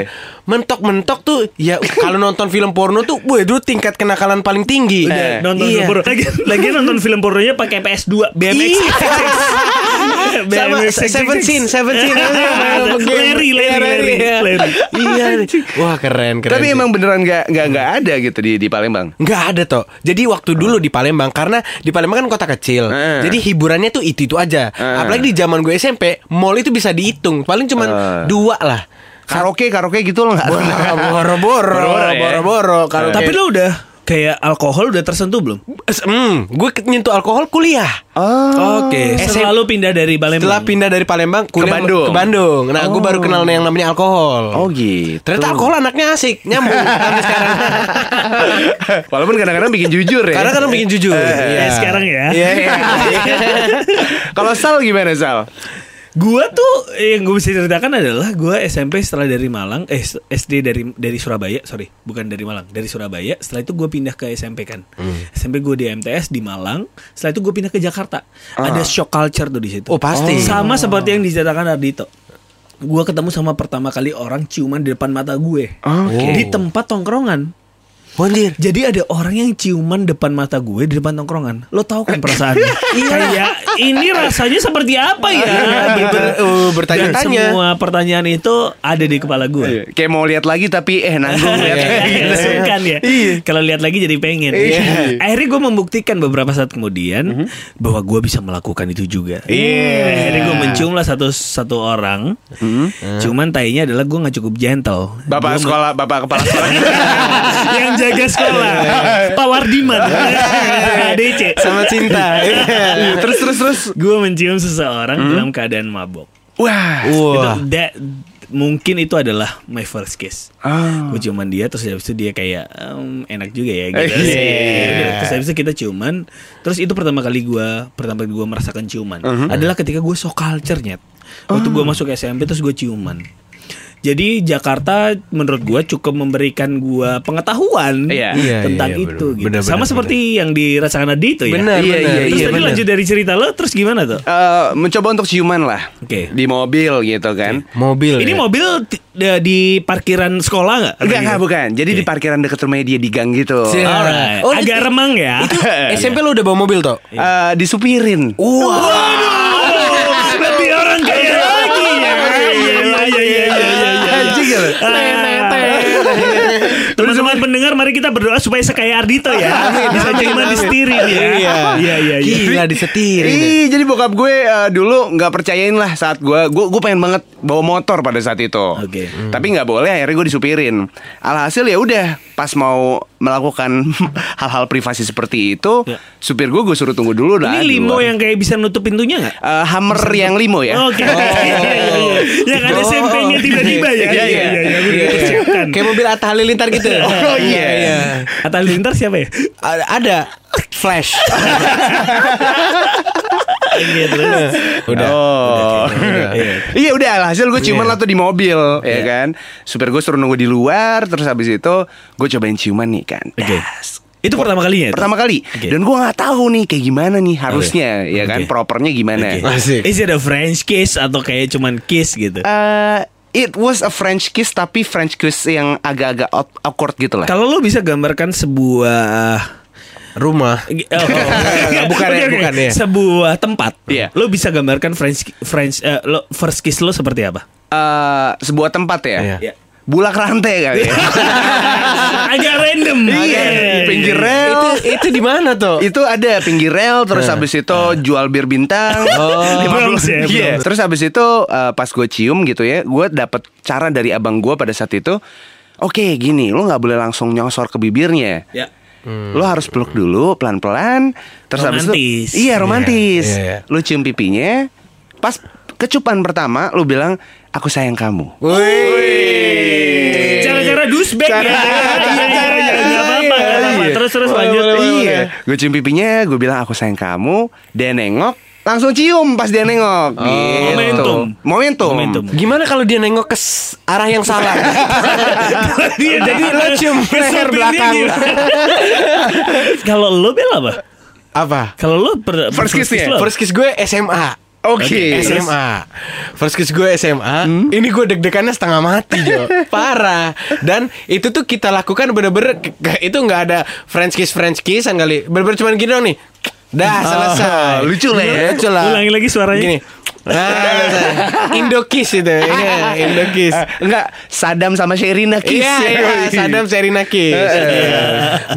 Mentok-mentok tuh ya kalau nonton film porno tuh wah dulu tingkat kenakalan paling tinggi. Udah, Iya. nonton film porno. Lagi, lagi nonton film pornonya pakai PS2 BMX. Iya. sama BMX. Seven Sin, Seven Sin. Larry, Larry, Larry, Larry. Iya. Wah keren, keren. Tapi sih. emang beneran nggak nggak nggak ada gitu di di Palembang. nggak ada toh. Jadi waktu dulu di Palembang karena di Palembang kan kota kecil. Eh. Jadi hiburannya tuh itu itu aja. Eh. Apalagi di zaman gue SMP, mall itu bisa dihitung. Paling cuman Eh. dua lah. Karaoke karaoke gitu loh nggak? Wah, Boro-boro, Eh. Boro-boro ya. boro-boro. Kalau Tapi lo udah kayak alkohol udah tersentuh belum? Hmm, gue ke- nyentuh alkohol kuliah. Oke, SM Eh, selalu pindah dari Eh, Palembang. Setelah pindah dari Oh. Palembang kuliah Bandung. Ke Bandung. Nah, gue baru kenal yang namanya alkohol. Oh gitu. Ternyata alkohol anaknya asik, nyambung sampai sekarang. Walaupun kadang-kadang bikin jujur ya. Karena kadang bikin jujur. Eh, sekarang ya. Iya. iya. Kalau Sal gimana Sal? Gua tuh yang gue bisa ceritakan adalah gua SMP setelah dari Malang, eh SD dari dari Surabaya, sorry, bukan dari Malang, dari Surabaya. Setelah itu gue pindah ke SMP kan. SMP gue di MTS di Malang. Setelah itu gue pindah ke Jakarta. Ada shock culture tuh di situ. Oh, pasti. Sama seperti yang diceritakan Ardito. Gua ketemu sama pertama kali orang ciuman di depan mata gue. Oke. Di tempat tongkrongan. Anjir. Jadi ada orang yang ciuman depan mata gue di depan tongkrongan. Lo tau kan perasaannya? iya. Kayak ini rasanya seperti apa ya? Gitu. Ber- uh, bertanya-tanya. Dan Semua pertanyaan itu ada di kepala gue. Iya, Kayak mau lihat lagi tapi eh nanggung lihat Iya, Sungkan ya. Kalau lihat lagi jadi pengen. Iya. Akhirnya gue membuktikan beberapa saat kemudian Mhm. bahwa gue bisa melakukan itu juga. Iya. Akhirnya gue menciumlah satu satu orang. Iya. Cuman tainya adalah gue nggak cukup gentle. Mhm. Bapak sekolah, bapak kepala sekolah. yang jaga sekolah Pak Wardiman ADC Sama cinta. Iya, terus terus terus. gue mencium seseorang Mhm. dalam keadaan mabok Wah. Uh. Wah. Itu- that- mungkin itu adalah my first kiss Ah. gue ciuman dia terus habis itu dia kayak "Em, enak juga ya gitu Iya. Iya. terus habis itu kita ciuman terus itu pertama kali gue pertama kali gue merasakan ciuman adalah ketika gue so culture nyet waktu gue masuk SMP terus gue ciuman jadi Jakarta menurut gue cukup memberikan gue pengetahuan Iya. Iya, tentang iya, itu bener. gitu. Bener, Sama bener, seperti yang dirasakan Adi itu ya. Benar, Iya, benar. iya, Terus iya, tadi bener. lanjut dari cerita lo terus gimana tuh? Eh, mencoba untuk ciuman lah. Oke. Di mobil gitu kan. Mobil. Ini ya? mobil ti- da- di parkiran sekolah nggak? Enggak, enggak bukan. Jadi di parkiran dekat rumahnya dia di gang gitu. Siap. Alright. Oh, itu- Agak remang ya. Itu SMP lu udah bawa mobil toh? Eh, disupirin. Lebih orang kaya lagi ya. Iya iya iya iya iya. iya. Anjing ya lo. Ah. Teman-teman pendengar mari kita berdoa supaya sekaya Ardito ya. Bisa cuma di steering ya. Iya. Iya iya iya. Gila disetirin. Ih, jadi bokap gue eh, dulu nggak percayain lah saat gue, gue gue pengen banget bawa motor pada saat itu. Oke. Tapi nggak boleh, akhirnya gue disupirin. Alhasil ya udah, pas mau melakukan hal-hal privasi seperti itu, Ya. supir gue gue suruh tunggu dulu lah. Ini di limo luar. yang kayak bisa nutup pintunya nggak? Eh, Hammer yang limo ya. Oke. Iya, iya, iya. Yang ada Oh. sempengnya tiba-tiba ya. Iya, iya. udah Iya. dipersiapkan. Kayak mobil Atta Halilintar gitu. Oh, iya. Atta Lintar siapa ya? A- Ada flash. Iya, terus. Udah. Oh. Iya. Iya udah alhasil gue ciuman lah tuh di mobil Iya. ya kan. Supir gue suruh nunggu di luar terus habis itu gue cobain ciuman nih kan. Oke. Das. Itu pertama kalinya. itu? Pertama kali Oke. dan gue nggak tahu nih kayak gimana nih harusnya ya kan Oke. propernya gimana. Oke. Asik. Is it a French kiss atau kayak cuman kiss gitu? Eh, it was a French kiss tapi French kiss yang agak-agak out- awkward gitu lah. Kalau lo bisa gambarkan sebuah Rumah. Oh, oh, oh. Bukan ya, Oke, oke. bukan ya. Sebuah tempat. Iya. Lo bisa gambarkan French French eh, lo first kiss lo seperti apa? Eh, sebuah tempat ya. Iya. Iya. Bulak rantai kali ya. Agak random. Iya, Oke. pinggir rel. Itu itu di mana toh? itu ada pinggir rel terus habis itu jual bir bintang Iya. Oh, Lima puluh- Bronx Eh, ya, Iya. Bronx. terus habis itu eh, pas gue cium gitu ya gue dapet cara dari abang gue pada saat itu oke gini lo nggak boleh langsung nyosor ke bibirnya Ya. Lo harus peluk dulu pelan-pelan Terus habis Romantis. itu Iya romantis Iya, iya, iya. Lo cium pipinya Pas kecupan pertama Lo bilang Aku sayang kamu Wih. Cara-cara douchebag ya. Iya, cara-cara. iya, iya, nggak apa-apa, nggak apa-apa. Iya. Terus terus Boleh, lanjut. boleh, boleh. Iya, gue cium pipinya, gue bilang aku sayang kamu, dia nengok, langsung cium pas dia nengok. gitu. Oh. Momentum. Momentum. Momentum. Gimana kalau dia nengok ke s- arah yang salah? Iya, Jadi lo cium leher belakang. Kalau lo bela apa? Apa? Kalau lo per- First kiss-nya, lo apa? First kiss gue SMA. Oke. SMA. First kiss gue SMA. Ini gue deg-degannya setengah mati, Jo. Parah. Dan itu tuh kita lakukan bener-bener ke- ke- itu nggak ada French kiss French kissan kali. Bener-bener cuman gini dong nih. Dah selesai. lucu lah ya. Ah, Lucu lah. Ulangi lagi suaranya. Gini. Nah, selesai. Indo kiss itu. Iya, Indo kiss. Eh, enggak, Sadam sama Sherina kiss. Iya, iya, Saddam Serina kiss. Iya.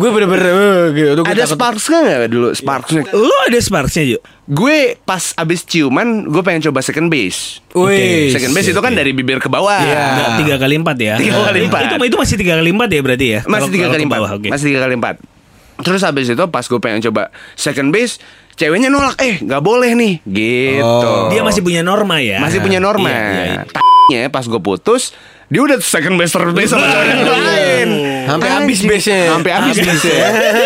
Gue bener-bener uh, gitu. Tuh gue Ada takut. sparks nggak dulu sparksnya? Lo ada sparksnya Ju? Gue pas abis ciuman, gue pengen coba second base. Wih. Second base itu kan dari bibir ke bawah. Nah, Iya. Enggak, tiga kali empat ya. Tiga kali Itu- empat. Itu, itu masih tiga kali empat ya berarti ya? Masih Kalau- tiga kalau kali ke empat. bawah, oke. Masih tiga kali empat. Terus habis itu pas gue pengen coba second base, ceweknya nolak eh nggak boleh nih gitu Oh. Dia masih punya norma ya. masih punya norma Iya, iya, iya. T-nya pas gue putus dia udah second best third best sama cowok yang lain Sampai habis Anjing. base-nya. sampai habis Habis. base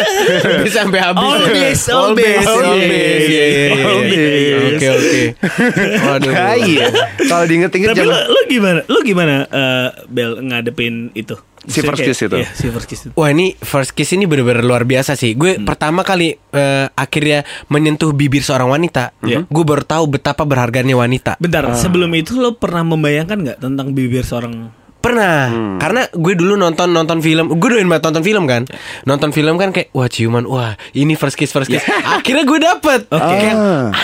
Bisa sampai habis. All base, all All base, base. all base. Iya, iya, iya. All base. Oke, oke. Waduh. iya kalau diinget-inget Tapi lu, zaman lu gimana? Lu gimana eh, Bel ngadepin itu? Si first kiss itu. Iya, si first kiss itu. Wah ini first kiss ini bener-bener luar biasa sih Gue pertama kali eh, akhirnya menyentuh bibir seorang wanita Iya. Gue baru tahu betapa berharganya wanita Bentar, Ah. sebelum itu lo pernah membayangkan nggak tentang bibir seorang Pernah Karena gue dulu nonton nonton film Gue doain banget nonton film kan Nonton film kan kayak Wah ciuman Wah ini first kiss first kiss Akhirnya gue dapet Oke. Kayak,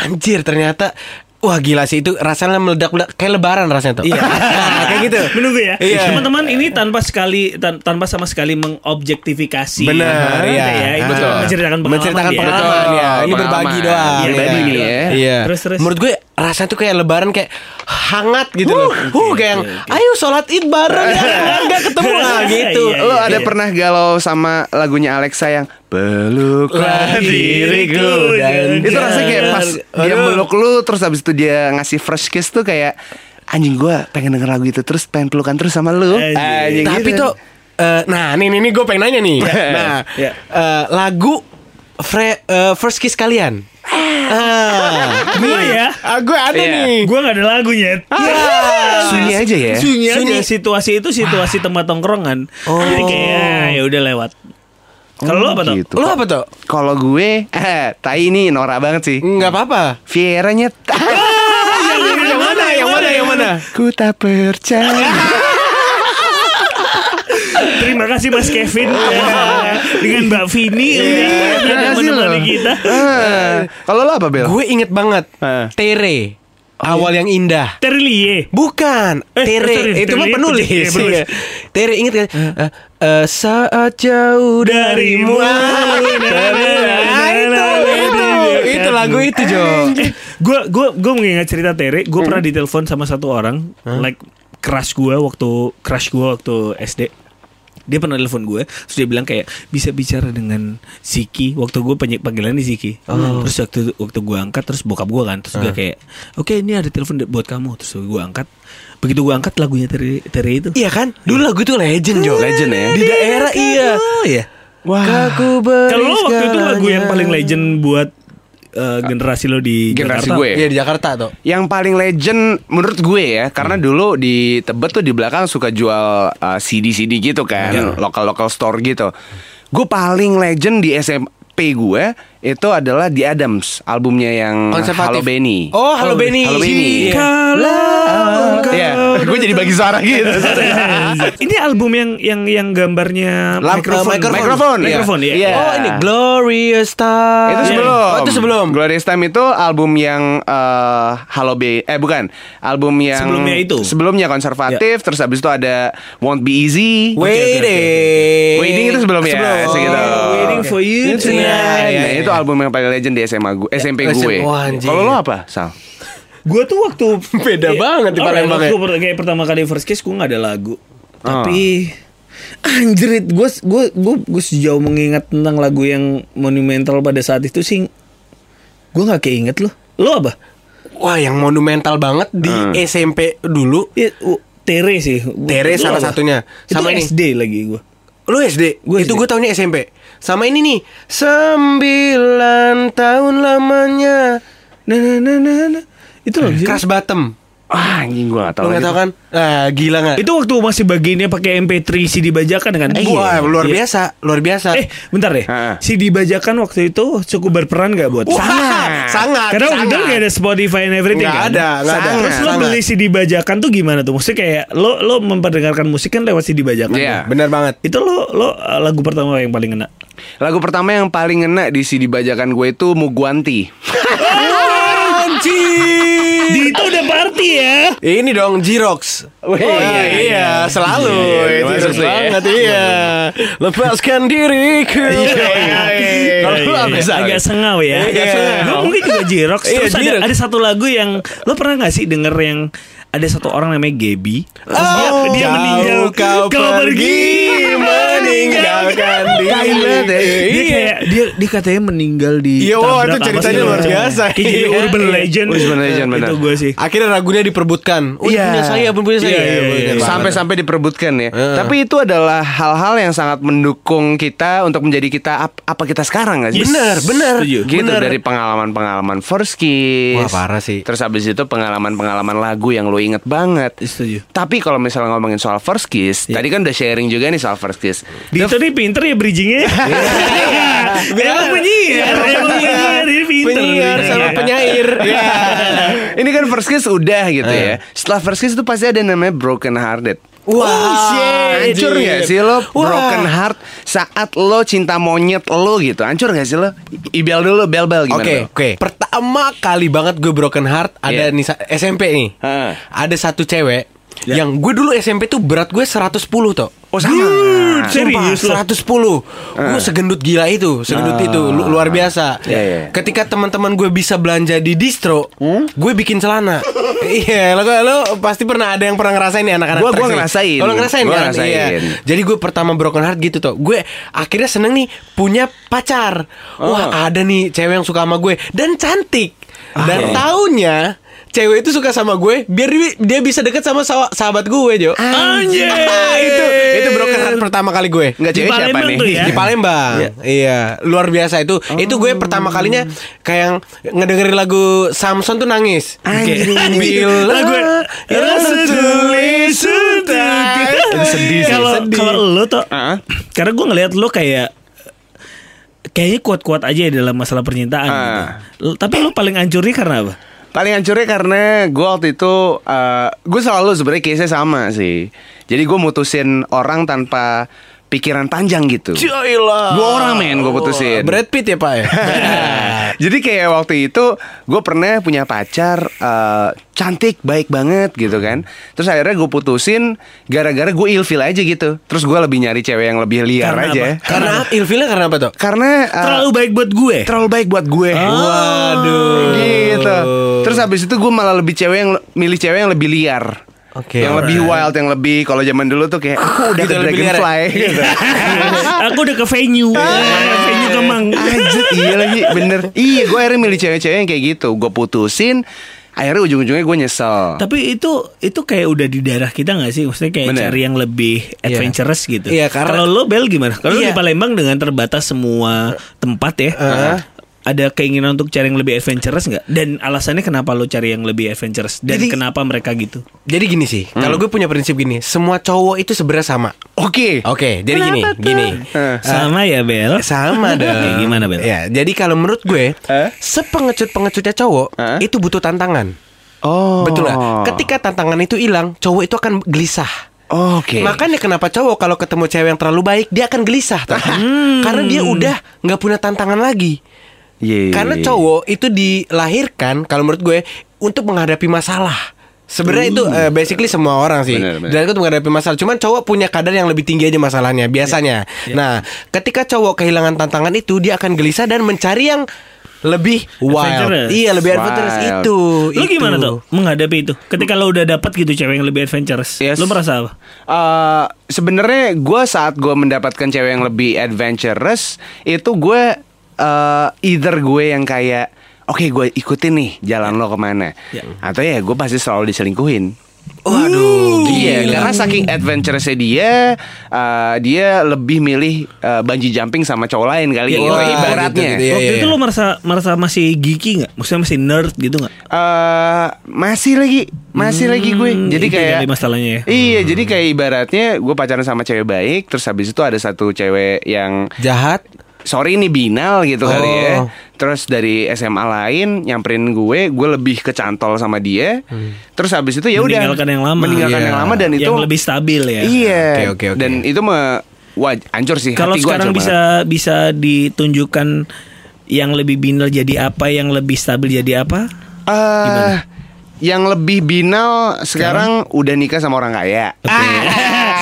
Anjir ternyata Wah gila sih itu rasanya meledak-meledak Kayak lebaran rasanya tuh Ah, Nah, Kayak gitu Menunggu ya. Iya. Teman-teman ini tanpa sekali tan- tanpa sama sekali mengobjektifikasi. Benar Gitu ya, ya. Ini Betul. cuma menceritakan pengalaman. Menceritakan dia. Ah. pengalaman, Oh, ya. Ini iya. Ah. pengalaman. berbagi doang. Iya, berbagi Iya. nih ya. Iya. Terus, terus. Menurut gue rasanya tuh kayak lebaran kayak hangat gitu loh. Huh, kayak yang, ayo sholat id bareng ya. Enggak ketemu lah gitu. Iya, Lo iya, ada pernah galau sama lagunya Alexa yang peluklah diriku dan itu rasanya kayak pas dia Aduh. meluk lu terus habis itu dia ngasih fresh kiss tuh kayak anjing gua pengen denger lagu itu terus pengen pelukan terus sama lu. Anjing. Anjing Tapi gitu. tuh eh, nah nih nih, nih gue pengen nanya nih. nah, Iya. eh, lagu Fre- eh, first kiss kalian. Ah, Gue ya. ah, gue ada Iya. nih. Gue gak ada Iya. lagunya. Ah, sunyi aja ya. Sunyi aja. Sunyi. Situasi itu situasi tempat tongkrongan. Oh. Jadi kayak ya udah lewat. Kalau lo apa tuh? gitu. Lo apa tuh? Kalau gue eh tai ini norak banget sih. Enggak apa-apa. Vieranya Ah, iya, yang mana? Yang mana? Yang mana? ku tak percaya. Terima kasih Mas Kevin Ya. dengan Mbak Vini udah Iya, terima kasih menemani loh. kita. Ah, Kalau lo apa Bel? Gue inget banget Heeh. Tere Awal yang indah Terlie. Bukan Eh, Tere sorry, Itu Tere mah itu penulis, dia, penulis. Iya. Tere inget kan Eh, eh, Saat jauh darimu Darimu. Nah, Itu itu, Iya, kan? Itu lagu itu Jo Eh, gue gue gue mengingat cerita Tere. Gue Hmm. pernah ditelepon sama satu orang, like crush gue waktu crush gue waktu SD. Dia pernah telepon gue, terus dia bilang kayak bisa bicara dengan Siki. Waktu gue penyi- panggilannya Siki. Oh. Terus waktu waktu gue angkat, terus bokap gue kan, terus dia kayak, oke ini ada telepon de- buat kamu. Terus gue angkat. Begitu gue angkat lagunya Tere, Tere itu. Iya kan Dulu lagu itu legend Jo Legend ya. Di daerah iya kan? Wah. Kaku Oh, Kalau lo waktu itu lagu yang paling legend buat eh, generasi lo di Generasi Jakarta. gue. Iya di Jakarta tuh Yang paling legend menurut gue ya, karena dulu di Tebet tuh di belakang suka jual uh, CD-CD gitu kan, lokal-lokal store gitu. Gue paling legend di SMP gue itu adalah di Adams albumnya yang Hmm, Halo Konservatif Benny. Oh Halo Oh, Benny Halo Benny. Iya. Kalau Iya, gue jadi bagi suara gitu. ini album yang yang yang gambarnya Lamp- mikrofon, eh, mikrofon. Mikrofon, iya. mikrofon ya. Iya. Oh ini Glorious Time itu sebelum. Oh itu sebelum Glorious Time itu album yang eh, Halo B eh bukan, album yang Sebelumnya itu. Sebelumnya konservatif, terus habis itu ada Won't Be Easy. Waiting. Waiting itu sebelum ya, segitu. Waiting for you Nah, tonight. Iya, iya. Ya, itu album yang paling legend di SMA gue, SMP SM, gue. wah, anjing. Kalau lo apa, Sal? Gue tuh waktu Beda banget di Alright, Palembang waktu ya. Ah. per- kayak pertama kali first kiss gue nggak ada lagu. Tapi anjrit gue gue gue gue sejauh mengingat tentang lagu yang monumental pada saat itu sih gue nggak keinget loh. Lo apa? Wah yang monumental banget di SMP dulu Ya, u- Tere sih. Tere Lo salah apa? satunya. Sama ini. itu SD lagi gue. Lu SD? Gua Itu SD. gue tahunnya SMP Sama ini nih Sembilan tahun lamanya Nah, nah, nah, nah, nah. Itu lagu sih. Keras bottom Ah, anjing gue gak tau. Lu gak lagi. tau kan? Ah, gila gak? Itu waktu masih bagiannya pakai MP3 CD bajakan kan? Wah luar Iya. biasa Luar biasa Eh, bentar deh. Ha. CD bajakan waktu itu cukup berperan gak buat? Wah, sangat Sangat Karena waktu itu sangat. gak ada Spotify and everything Nggak kan? ada, nggak ada. Sangat. Terus lo Sangat. beli CD bajakan tuh gimana tuh? Maksudnya kayak lo lo memperdengarkan musik kan lewat CD bajakan. Iya. kan? Bener banget Itu lo lo uh, lagu pertama yang paling enak. Lagu pertama yang paling ngena di CD bajakan gue itu Muguanti. Anjir Di itu udah party ya. Ini dong Jirox. Oh, iya, iya, selalu Iya, itu masuk Jirox tuh ya. banget iya. Lepaskan diriku. Iya, Kalau lu Iya, apa iya, Sal? agak sengau ya. Iya. Lo mungkin juga Jirox. Iya, Terus ada, Jirox. ada satu lagu yang lo pernah gak sih denger yang ada satu orang namanya Gaby. Terus Oh, dia, dia jauh meninggal. kau pergi. meninggalkan Kain banget ya. Dia Iya. kayak dia dia katanya meninggal di Iya, wah, itu tabrak apa ceritanya segala luar macam. biasa. Kayak jadi Iya. urban legend. Nah, Urban legend, benar. Itu gue sih. Akhirnya ragunya diperbutkan. Oh, ini Iya. punya saya, ini punya saya. Iya, Iya, iya, punya iya. saya. Sampai-sampai diperebutkan ya. Heeh. Tapi itu adalah hal-hal yang sangat mendukung kita untuk menjadi kita ap- apa kita sekarang nggak sih? Yes. Bener, bener. Setuju. Gitu bener. dari pengalaman-pengalaman first kiss. Wah, parah sih. Terus abis itu pengalaman-pengalaman lagu yang lo inget banget. Setuju. Tapi kalau misalnya ngomongin soal first kiss, Iya. tadi kan udah sharing juga nih soal first kiss. Dito nih pinter ya bridgingnya. Iya. Emang penyiar, emang penyiar, ini pinter. Penyiar Iya. sama Iya. penyair. Iya. Ya. Ini kan first kiss udah gitu Eh. ya. Setelah first kiss itu pasti ada namanya broken hearted. Oh, Wah, hancur anjir. gak sih lo Wah. broken heart saat lo cinta monyet lo gitu? Hancur gak sih lo? I- Ibel dulu, bel bel gimana? Oke, lo? oke. Pertama kali banget gue broken heart ada Iya. nih sa- SMP nih. Heeh. Ada satu cewek yang gue dulu SMP tuh berat gue 110 toh. Ya. Oh sama. Dude, Serius sumpah, 110 Gue segendut gila itu Segendut itu lu- Luar biasa Iya, iya. Ketika teman-teman gue bisa belanja di distro Hmm? Gue bikin celana Iya lo, lo pasti pernah ada yang pernah ngerasain nih anak-anak Gua- trek gua nih. ngerasain. Oh, Lo ngerasain Gua kan? ngerasain. Iya. Jadi gue pertama broken heart gitu toh Gue akhirnya seneng nih Punya pacar Oh. Wah ada nih cewek yang suka sama gue Dan cantik Ah. Dan taunya Cewek itu suka sama gue Biar di- dia bisa deket sama saw- sahabat gue Jo Ah, Anjir. itu itu broken heart pertama kali gue Nggak Di cewek siapa Palembang nih? tuh ya? Oh. di Palembang iya. luar biasa itu itu gue pertama kalinya kayak yang ngedengerin lagu Samson tuh nangis Anjing. Bila Lagu yang tertulis sudah. Itu sedih sih. Kalau Sedih. kalau lo tuh Ah. karena gue ngelihat lo kayak kayaknya kuat-kuat aja ya dalam masalah percintaan. Ah. gitu. Lo- Tapi lo paling hancurnya karena apa? Paling hancurnya karena gue waktu itu eh, gue selalu sebenarnya case sama sih. Jadi gue mutusin orang tanpa pikiran panjang gitu. Joylah. Dua orang, men, gue putusin. Brad Pitt ya pak ya Jadi kayak waktu itu gue pernah punya pacar eh, cantik baik banget gitu kan. Terus akhirnya gue putusin gara-gara gue ilfil aja gitu. Terus gue lebih nyari cewek yang lebih liar Karena aja. apa? karena ilfilnya karena apa tuh Karena eh, Terlalu baik buat gue. terlalu baik buat gue. Oh. waduh Gitu. Terus habis itu gue malah lebih cewek yang milih cewek yang lebih liar. Oke. yang lebih wild, yang lebih kalau zaman dulu tuh kayak aku udah Gitu, ke lebih liar ya? dragonfly gitu. Aku udah ke venue, venue kemang. Iya. Anjir iya lagi bener Iya gue akhirnya milih cewek-cewek yang kayak gitu Gue putusin Akhirnya ujung-ujungnya gue nyesel Tapi itu itu kayak udah di daerah kita nggak sih? Maksudnya kayak Bener. cari yang lebih adventurous gitu. Iya, karena- Kalau lo bel gimana? Kalau lo Iya. di Palembang dengan terbatas semua tempat ya. Ada keinginan untuk cari yang lebih adventurous nggak? Dan alasannya kenapa lo cari yang lebih adventurous? Dan Jadi- kenapa mereka gitu? jadi gini sih kalau gue punya prinsip gini semua cowok itu sebenarnya sama Oke Oke, jadi gini, gini. Eh. Sama ya Bel. Sama dong. Kayak gimana Bel? Ya, jadi kalau menurut gue, Eh? sepengecut-pengecutnya cowok Eh? itu butuh tantangan. Oh Betul lah. Ketika tantangan itu hilang, cowok itu akan gelisah. Oke Makanya kenapa cowok kalau ketemu cewek yang terlalu baik dia akan gelisah, Tom. karena dia udah nggak punya tantangan lagi. Iya. Karena cowok itu dilahirkan kalau menurut gue untuk menghadapi masalah. Sebenarnya itu eh, basically semua orang sih. Hmm. Benar, benar. Dan itu menghadapi masalah. Cuman cowok punya kadar yang lebih tinggi aja masalahnya biasanya. Iya, Nah, ketika cowok kehilangan tantangan itu dia akan gelisah dan mencari yang lebih wild. Adventurous. Iya, lebih adventurous Wild. itu. Lo itu. gimana tuh menghadapi itu? Ketika lo udah dapat gitu cewek yang lebih adventurous, Yes. lo merasa apa? Eh, Sebenarnya gue saat gue mendapatkan cewek yang lebih adventurous itu gue eh, either gue yang kayak Oke gue ikutin nih jalan lo kemana Ya. Atau ya gue pasti selalu diselingkuhin Waduh, Gitu. Iya, gila. karena saking adventurous-nya dia, eh, dia lebih milih eh, bungee jumping sama cowok lain kali Iya, gitu wah, ibaratnya. gitu, gitu ya. Iya, Waktu iya. itu lo merasa merasa masih geeky nggak? Maksudnya masih nerd gitu nggak? Eh, masih lagi, masih lagi gue. Jadi Hmm, itu kayak kali masalahnya ya. Iya, jadi kayak ibaratnya gue pacaran sama cewek baik, terus habis itu ada satu cewek yang Jahat. sorry ini binal gitu kali Oh. ya. Terus dari SMA lain nyamperin gue, gue lebih kecantol sama dia. Terus habis itu ya udah Hmm. Meninggalkan yang lama. meninggalkan Iya. yang lama dan itu yang lebih stabil ya. Iya. Oke, oke, oke. Dan itu me waj hancur sih. Kalau hati gua sekarang hancur bisa bisa ditunjukkan yang lebih binal jadi apa, yang lebih stabil jadi apa? banget. Eh, yang lebih binal sekarang udah nikah sama orang kaya. Ah,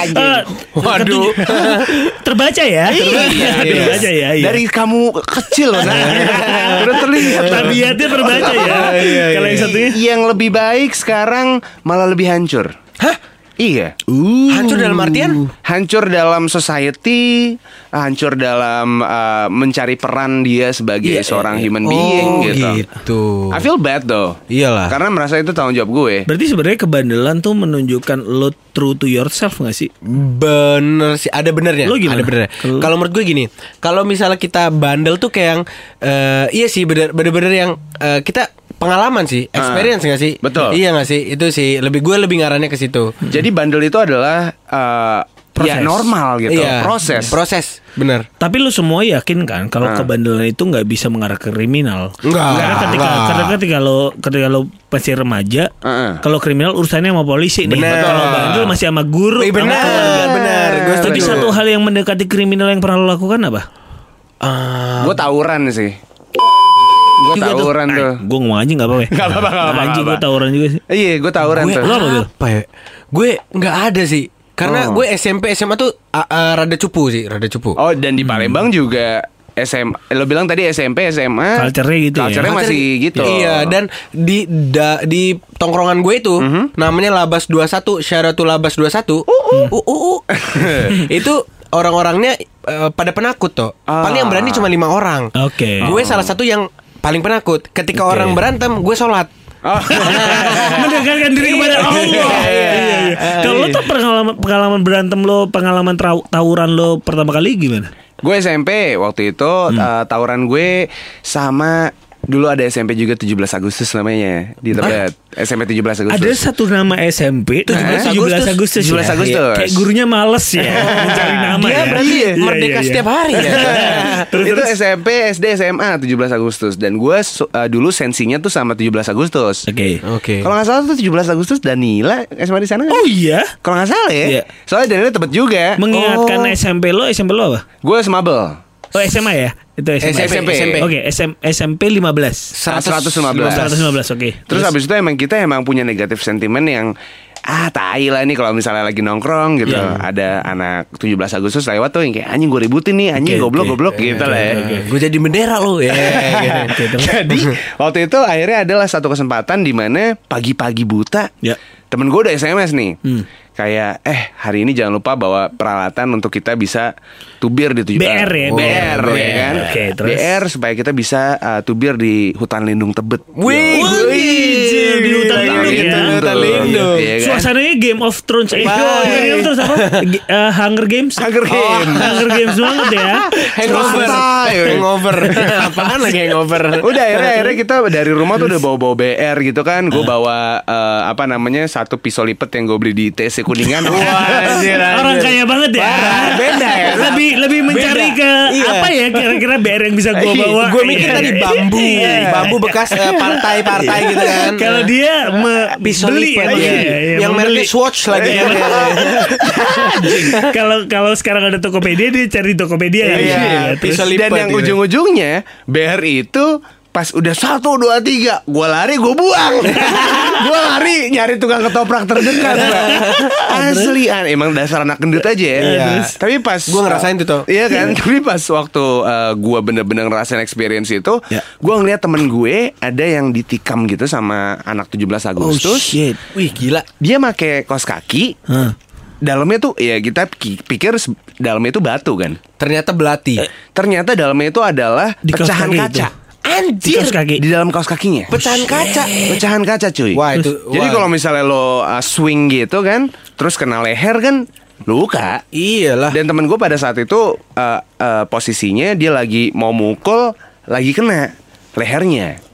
Eh, Waduh. ketujuh- terbaca ya, terbaca, terbaca ya. iya. Iya. Dari kamu kecil loh, Nak. udah terlihat tabiatnya terbaca ya. Iya, iya, Kalau yang iya. satunya Yang lebih baik sekarang malah lebih hancur. Hah? Iya. Hancur dalam artian? Hancur dalam society, hancur dalam uh, mencari peran dia sebagai Iya, seorang iya, iya. human Oh, being gitu. gitu. I feel bad though. Iyalah. Karena merasa itu tanggung jawab gue. Berarti sebenarnya kebandelan tuh menunjukkan lo true to yourself gak sih? Bener sih, ada benernya. Lo Ada gimana? benernya. Kalau- Kalau menurut gue gini, kalau misalnya kita bandel tuh kayak yang eh, iya sih bener bener-bener yang eh, kita pengalaman sih, experience nggak sih? Ah, betul. Iya nggak sih? Itu sih lebih gue lebih ngarannya ke situ. Jadi bandel itu adalah uh, ya Proses. normal gitu, Iya. proses. Proses, bener. Tapi lu semua yakin kan kalau kebandelan itu nggak bisa mengarah ke kriminal? Nggak, Karena ketika nggak. karena ketika lo ketika lo masih remaja, Heeh. kalau kriminal urusannya sama polisi nih. Bener. Kalau bandel masih sama guru, Eh, sama bener, keluarga. bener. Gue Tapi setuju. satu hal yang mendekati kriminal yang pernah lo lakukan apa? Ah, Gue tawuran sih. Gue Juga tuh. tawuran tuh. Gue Eh, ngomong aja nggak apa-apa. ya? Nggak apa-apa, nggak apa-apa, Anjing nggak gue apa-apa. tawuran juga sih. Iya, gue tawuran gue tuh. Lo apa, Bil? apa ya? Gue nggak ada sih. Karena Oh. gue SMP SMA tuh ah, ah, rada cupu sih, rada cupu. Oh, dan di Palembang juga SMA. Lo bilang tadi SMP, SMA. Culture-nya gitu ya? Culture-nya Materi- masih gitu. Iya, dan di da- di tongkrongan gue itu Mhm. namanya Labas 21, Syaratul Labas 21. Uh, uh, uh. itu orang-orangnya eh, pada penakut toh. Ah. Paling yang berani cuma lima orang. Oke. Gue salah satu yang paling penakut. Ketika Oke. orang berantem, gue sholat. Oh, Mendekatkan diri kepada Allah. Iya. Iya, iya. Kalau lo tuh pengalaman pengalaman berantem lo, pengalaman trau- tawuran lo pertama kali gimana? Gue SMP waktu itu Hmm. eh, tawuran gue sama dulu ada SMP juga 17 Agustus namanya di Tebet. SMP 17 Agustus. Eh, Ada satu nama SMP 17 Agustus. Agustus, 17 ya? Agustus. Kayak gurunya males ya mencari nama Dia ya. berarti Iya, iya, merdeka iya. setiap hari ya. terus, itu terus. SMP, SD, SMA 17 Agustus dan gue su- eh, dulu sensinya tuh sama 17 Agustus. Oke. Oke. Kalau nggak salah tuh 17 Agustus Danila SMA di sana kan? Oh iya. Kalau nggak salah ya. Iya. Soalnya Danila Tebet juga. Mengingatkan Oh. SMP lo, SMP lo apa? Gue semabel. Oh SMA ya? Itu SMA. SMP. Oke, SM- SMP 15. 115. 115, oke. Terus habis itu emang kita emang punya negatif sentimen yang ah tai lah nih kalau misalnya lagi nongkrong gitu Iya. ada anak 17 Agustus lewat tuh yang kayak anjing gue ributin nih anjing Oke, goblok oke. goblok gitu lah ya. Gue jadi bendera lo ya. Iya, Oke, terus. Jadi waktu itu akhirnya adalah satu kesempatan di mana pagi-pagi buta Ya. temen gue udah SMS nih kayak eh hari ini jangan lupa bawa peralatan untuk kita bisa tubir di tujuh BR ya, BR, BR, ya kan Oke, terus. BR supaya kita bisa uh, tubir di hutan lindung Tebet. Wih, Wih, jil, di hutan Iya, lindung gitu, ya. di hutan lindung. Iya kan? Suasananya Game of Thrones. Eh, Ya Wah. iya, bukan Game of Thrones apa? G- eh, Hunger Games. Hunger Games. Hunger Games banget ya. Hangover. Santai, weh. Hangover. Apaan kan lagi hangover? Udah akhirnya, akhirnya kita dari rumah tuh udah bawa-bawa BR gitu kan Gue bawa eh, apa namanya satu pisau lipet yang gue beli di TC Kuningan Wah anjir, Orang anjir. kaya banget ya. Parah, beda ya. Lebih lebih mencari Beda. ke Iya. apa ya kira-kira BR yang bisa gua Iya, bawa. Gue mikir Iya. tadi bambu, Iya. bambu bekas eh, partai-partai gitu kan. Kalau dia me- pisau beli lipet, iya. ya, iya, iya, yang mereknya membeli. Swatch lagi. kan. Kalau kalau sekarang ada Tokopedia dia cari Tokopedia kan? Iya, terus- pisau Dan lipat yang gitu. ujung-ujungnya BR itu pas udah satu dua tiga gue lari gue buang gue lari nyari tukang ketoprak terdekat Bang. asli an emang dasar anak gendut aja ya Iya. tapi pas Gua ngerasain tuh, Toh. iya kan tapi pas waktu eh, gua gue bener-bener ngerasain experience itu Ya. gua ngeliat temen gue ada yang ditikam gitu sama anak 17 Oh Agustus shit. Wih gila. dia make kos kaki Hah. dalamnya tuh ya kita ki- pikir se- dalamnya itu batu kan Ternyata belati. Ternyata dalamnya itu adalah Di kaos pecahan kaki kaca. itu. Anjir. Di kaos kaki. Di dalam kaos kakinya. Pecahan kaca. Pecahan kaca cuy. Wah, itu- Jadi wah. kalau misalnya lo uh, swing gitu kan, terus kena leher kan luka. Iyalah. Dan temen gue pada saat itu uh, uh, posisinya dia lagi mau mukul, lagi kena lehernya.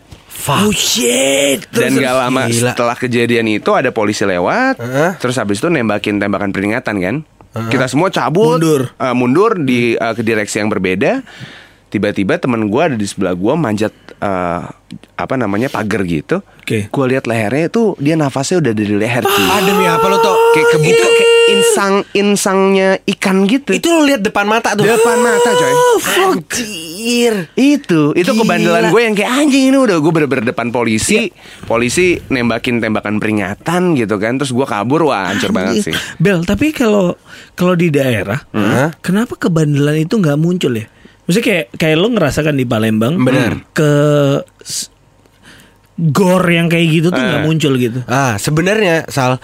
Oh shit. Dan gak lama Gila. setelah kejadian itu ada polisi lewat, Heeh. terus habis itu nembakin tembakan peringatan kan. Kita semua cabut, Mundur. eh, mundur di eh, ke direksi yang berbeda. Tiba-tiba teman gua ada di sebelah gua manjat eh, apa namanya pagar gitu. Oke. Gua lihat lehernya itu dia nafasnya udah dari leher cuy. Ah, demi apa lo tuh? Kayak kebuka kayak insang insangnya ikan gitu. Itu lo lihat depan mata tuh. Oh, depan mata coy. Anjir. Itu, itu Gila. kebandelan gue yang kayak anjing ini udah gue bener-bener depan polisi, polisi nembakin tembakan peringatan gitu kan, terus gue kabur wah hancur banget sih. Bel, tapi kalau kalau di daerah, kenapa kebandelan itu nggak muncul Hmm. ya? Maksudnya kayak kayak lo ngerasakan di Palembang, Bener. ke s- gore yang kayak gitu tuh Eh. nggak muncul gitu. Ah, sebenarnya Sal,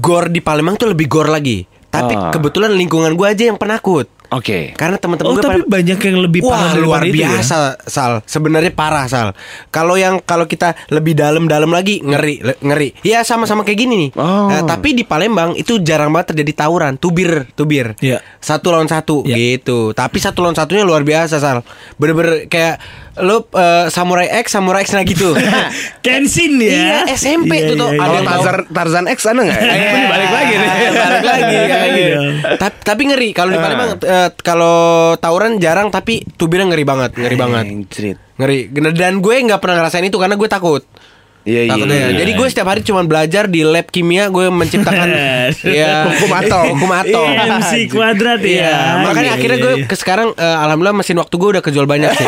gor di Palembang tuh lebih gor lagi. Tapi Ah. kebetulan lingkungan gua aja yang penakut. Oke. Eh, Karena teman-teman gue Oh tapi banyak yang lebih Wah parah luar daripada itu ya? biasa Sal Sebenarnya parah Sal Kalau yang Kalau kita lebih dalam-dalam lagi Ngeri le- Ngeri Ya sama-sama kayak gini nih Oh. Eh, Tapi di Palembang Itu jarang banget terjadi tawuran Tubir Tubir Iya. Satu lawan satu Iya. gitu Tapi satu lawan satunya luar biasa Sal Bener-bener kayak Lu eh, Samurai X Samurai X nah gitu Kenshin ya. Iya, SMP tuh tuh. Ada Kalau yang tahu. Tarzan, Tarzan X ada nggak? ya? Eh, balik lagi nih. balik lagi kayak gitu. Iya. Ah. Ta- tapi ngeri kalau di Palembang eh, kalau tawuran jarang tapi tubirnya ngeri banget ngeri banget Anjrit. ngeri dan gue nggak pernah ngerasain itu karena gue takut Iya, iya, Takutnya. ya. iya. Jadi gue setiap hari cuma belajar di lab kimia gue menciptakan ya Hukum atom. hukum atom. MC kuadrat ya. Iya, makanya Iya, akhirnya iya, gue iya. ke sekarang eh, alhamdulillah mesin waktu gue udah kejual banyak sih.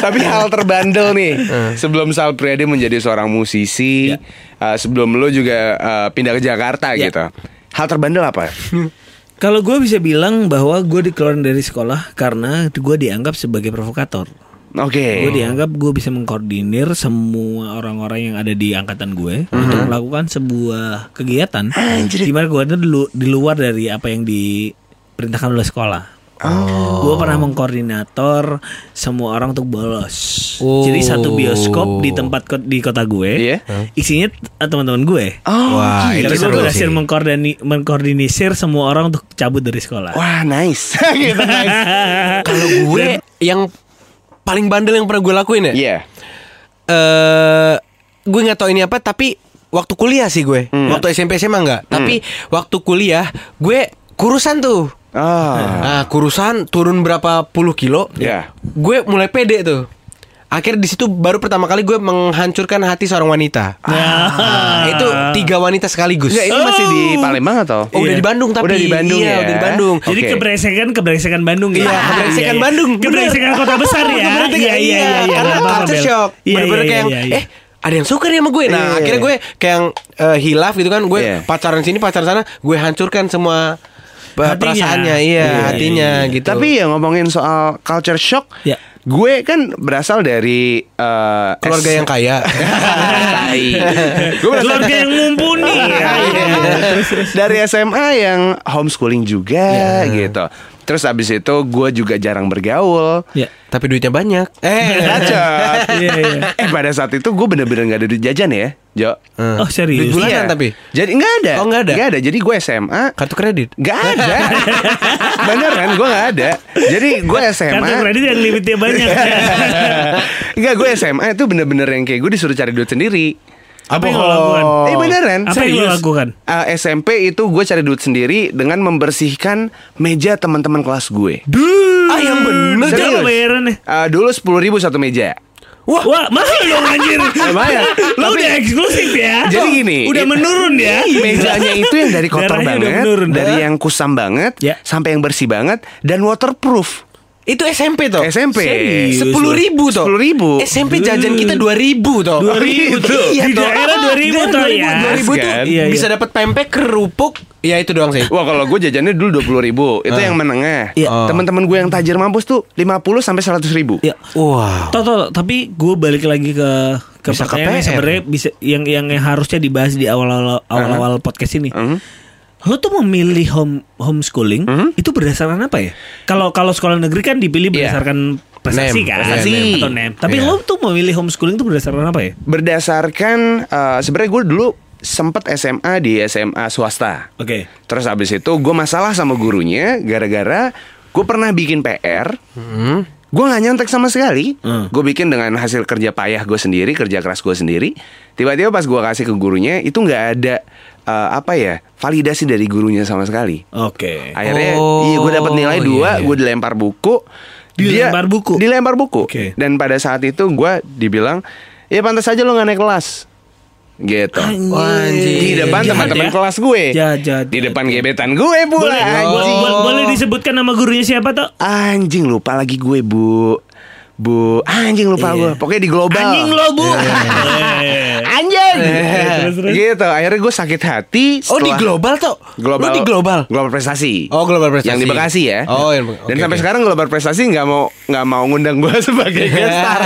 Tapi hal terbandel nih Sebelum Sal Priadi menjadi seorang musisi uh, Sebelum lo juga uh, pindah ke Jakarta Ya. gitu Hal terbandel apa? Kalau gue bisa bilang bahwa gue dikeluarin dari sekolah karena gue dianggap sebagai provokator. Oke Gue dianggap gue bisa mengkoordinir semua orang-orang yang ada di angkatan gue Mhm. untuk melakukan sebuah kegiatan di mana gue ada di lu- di luar dari apa yang diperintahkan oleh sekolah. Oh. Gue pernah mengkoordinator semua orang untuk bolos. Oh. Jadi satu bioskop di tempat kot- di kota gue, Iya. isinya t- teman-teman gue. Oh, Wah, Ah, Karena itu gue seru berhasil sih. mengkoordini- mengkoordinisir semua orang untuk cabut dari sekolah. Wah nice Gitu nice Kalau gue yang paling bandel yang pernah gue lakuin ya. Iya eh gue nggak tahu ini apa tapi waktu kuliah sih gue Hmm. waktu SMP SMA nggak tapi waktu kuliah gue kurusan tuh Ah. Nah, kurusan turun berapa puluh kilo Iya. gue mulai pede tuh akhirnya di situ baru pertama kali gue menghancurkan hati seorang wanita Ah. Nah, itu tiga wanita sekaligus Nggak, Ya, Oh. ini masih di Palembang atau? Oh, udah di Bandung tapi Udah di Bandung Iya, ya udah di Bandung Iya. Jadi Oke. Nah, kebresekan kebresekan Bandung ya. Iya, kebresekan Bandung, bener. Kebresekan kota besar ya. iya. Berarti kayak iya, Karena apa-apa, culture Bel. shock. Iya, Bener-bener iya, kayak iya, yang, iya. eh ada yang suka nih sama gue. Nah, Iya. akhirnya gue kayak yang eh, hilaf gitu kan. Gue Iya. pacaran sini, pacaran sana, gue hancurkan semua eh, Hatinya. perasaannya, iya, Iya, hatinya iya, iya. gitu. Tapi ya ngomongin soal culture shock Ya. Gue kan berasal dari eh, keluarga S- yang kaya. Tai. Iya, Gue berasal Keluarga yang mumpuni. ya. dari SMA yang homeschooling juga Iya. gitu. Terus abis itu gue juga jarang bergaul. Iya. Tapi duitnya banyak. Eh, Bacot. Iya, iya. Eh pada saat itu gue bener-bener gak ada duit jajan ya, Jo. Iya. Oh, serius. Hmm. Eh. Bulanan tapi? Jadi nggak ada. Oh, nggak ada? Nggak ada. Jadi gue SMA kartu kredit. nggak ada. Beneran gue nggak ada. Jadi gue SMA. Kan Kartu kredit yang limitnya banyak. Enggak gue SMA itu bener-bener yang kayak gue disuruh cari duit sendiri. Apa yang lo lakukan? Eh beneran. Oh. Apa yang lo Serius. lakukan? Eh, SMP itu gue cari duit sendiri dengan membersihkan meja teman-teman kelas gue. Duh. Ah, yang bener, Jangan Serius. bayarannya. Eh, dulu sepuluh ribu satu meja. Wah, Wah mahal dong anjir. Lumayan. Lo Tapi- udah eksklusif ya. Jadi gini, Udah it- menurun ya. Mejanya itu yang dari kotor Darahnya udah banget, menurun. dari Ah. yang kusam banget, Ya. sampai yang bersih banget dan waterproof. Itu SMP toh. SMP. Serius? Sepuluh ribu toh. 10.000. SMP jajan kita dua ribu toh. 2000 tuh. Iya Di toh. daerah 2000 Daerah toh ya. 2000 tuh Kan? Iya, iya. bisa dapat pempek kerupuk. Ya itu doang sih. Wah kalau gue jajannya dulu 20.000 ribu Itu yang menengah Iya. Oh. Teman-teman gue yang tajir mampus tuh 50 sampai 100 ribu Ya. Wow. Toto, tapi gue balik lagi ke ke Bisa ke pertanyaan yang PR. sebenarnya bisa yang yang yang harusnya dibahas di awal-awal awal-awal podcast ini. Lo tuh memilih home homeschooling itu berdasarkan apa ya? Kalau kalau sekolah negeri kan dipilih Iya. berdasarkan prestasi Nem, kan prestasi. atau nem. Tapi Iya. lo tuh memilih homeschooling itu berdasarkan apa ya? Berdasarkan eh, sebenarnya gue dulu sempet SMA di SMA swasta Oke. Terus abis itu gue masalah sama gurunya Gara-gara gue pernah bikin PR Gue gak nyontek sama sekali Hmm. Gue bikin dengan hasil kerja payah gue sendiri Kerja keras gue sendiri Tiba-tiba pas gue kasih ke gurunya Itu gak ada eh, apa ya Validasi dari gurunya sama sekali Oke. Akhirnya Oh, iya gue dapat nilai iya, dua, iya. gue dilempar buku. Dia- Dilempar buku? Dilempar buku. Oke. Dan pada saat itu gue dibilang, ya pantas aja lo gak naik kelas. Gitu. Wah, anjing. Di depan Jahat teman-teman ya. kelas gue. Jahat, jahat, Di jahat. depan gebetan gue pula. Boleh, bo- Anjing. bo- boleh disebutkan nama gurunya siapa toh? Anjing lupa lagi gue bu. Bu, anjing lupa gue. Pokoknya di global. Iya. Anjing lo bu. Anjing. Eh. terus, terus. Gitu. Akhirnya gue sakit hati. Oh di setelah- global toh. Global, Lu di global. Global prestasi. Oh, Global Prestasi. Yang di Bekasi ya. Oh, yang Bekasi. Dan Oke, sampai oke. Iya, sekarang global prestasi nggak mau nggak mau ngundang gue sebagai guest star.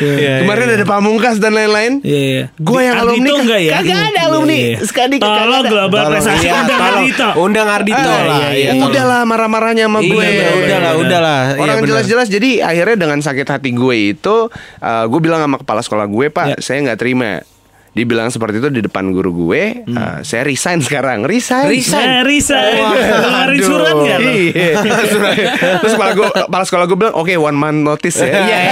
Iya, Kemarin ada pamungkas dan lain-lain. Iya, iya. Gue yang Ardito alumni enggak ya? Kagak ada alumni. Sekali kagak ada. Tolong global Tolong, prestasi iya, undang tolong. Ardito. Undang Ardito Ah, lah. iya, iya, iya. tolong. udahlah marah-marahnya sama Iya, gue. bener, udahlah, bener. udahlah. Iya, Orang bener. jelas-jelas jadi akhirnya dengan sakit hati gue itu eh, gue bilang sama kepala sekolah gue, "Pak, Iya. saya nggak terima." Dibilang seperti itu di depan guru gue, Hmm. eh, saya resign sekarang. Resign. Resign. Resign. Wah, Ngeluarin aduh. surat nggak lo? Iya. Surat. Terus kepala gue, kepala sekolah gue bilang, "Oke, one month notice ya." Iya.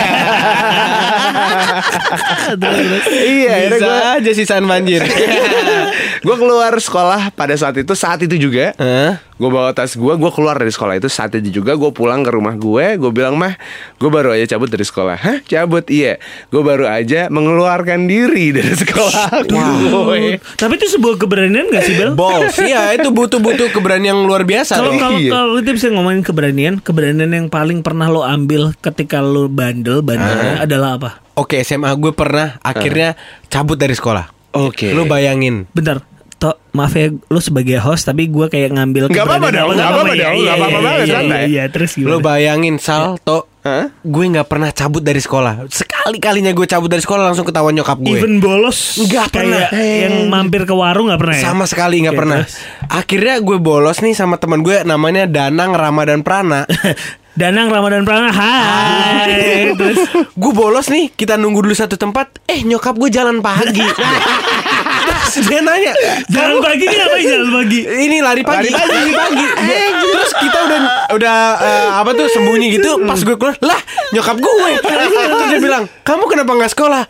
Iya, akhirnya Bisa gue aja sisaan banjir. gue keluar sekolah pada saat itu saat itu juga Hah? gue bawa tas gue gue keluar dari sekolah itu saat itu juga gue pulang ke rumah gue gue bilang mah gue baru aja cabut dari sekolah hah cabut iya gue baru aja mengeluarkan diri dari sekolah gue Tapi itu sebuah keberanian gak sih Bel? Balls. Iya, itu butuh-butuh keberanian yang luar biasa. loh. Kalau kalau Iya. kalau kita bisa ngomongin keberanian, keberanian yang paling pernah lo ambil ketika lo Ah. bandel, bandelnya adalah apa? Oke, SMA gue pernah akhirnya cabut dari sekolah. Oke. Lu bayangin. Bentar, toh maaf ya, lo sebagai host tapi gue kayak ngambil. Nggak apa-apa keberanian dong, lo. nggak apa-apa Iya, dong, iya, nggak apa-apa iya, banget, iya, santai. Iya, terus gimana? Lu bayangin Sal, Tok, Hah? gue nggak pernah cabut dari sekolah. Sekali-kalinya gue cabut dari sekolah langsung ketahuan nyokap gue. Even bolos Nggak kayak pernah. Yang Eh. mampir ke warung nggak pernah ya? sama sekali nggak Oke, pernah. terus. Akhirnya gue bolos nih sama teman gue namanya Danang Ramadan Prana. Danang Ramadan Prana Hai Terus gue bolos nih, kita nunggu dulu satu tempat. Eh nyokap gue jalan pagi. Terus dia nanya, Jalan pagi ini apa jalan pagi? ini lari pagi, Lari pagi. lari pagi. Terus kita udah udah eh, apa tuh sembunyi gitu. Pas gue keluar, lah nyokap gue. Terus dia bilang, kamu kenapa nggak sekolah?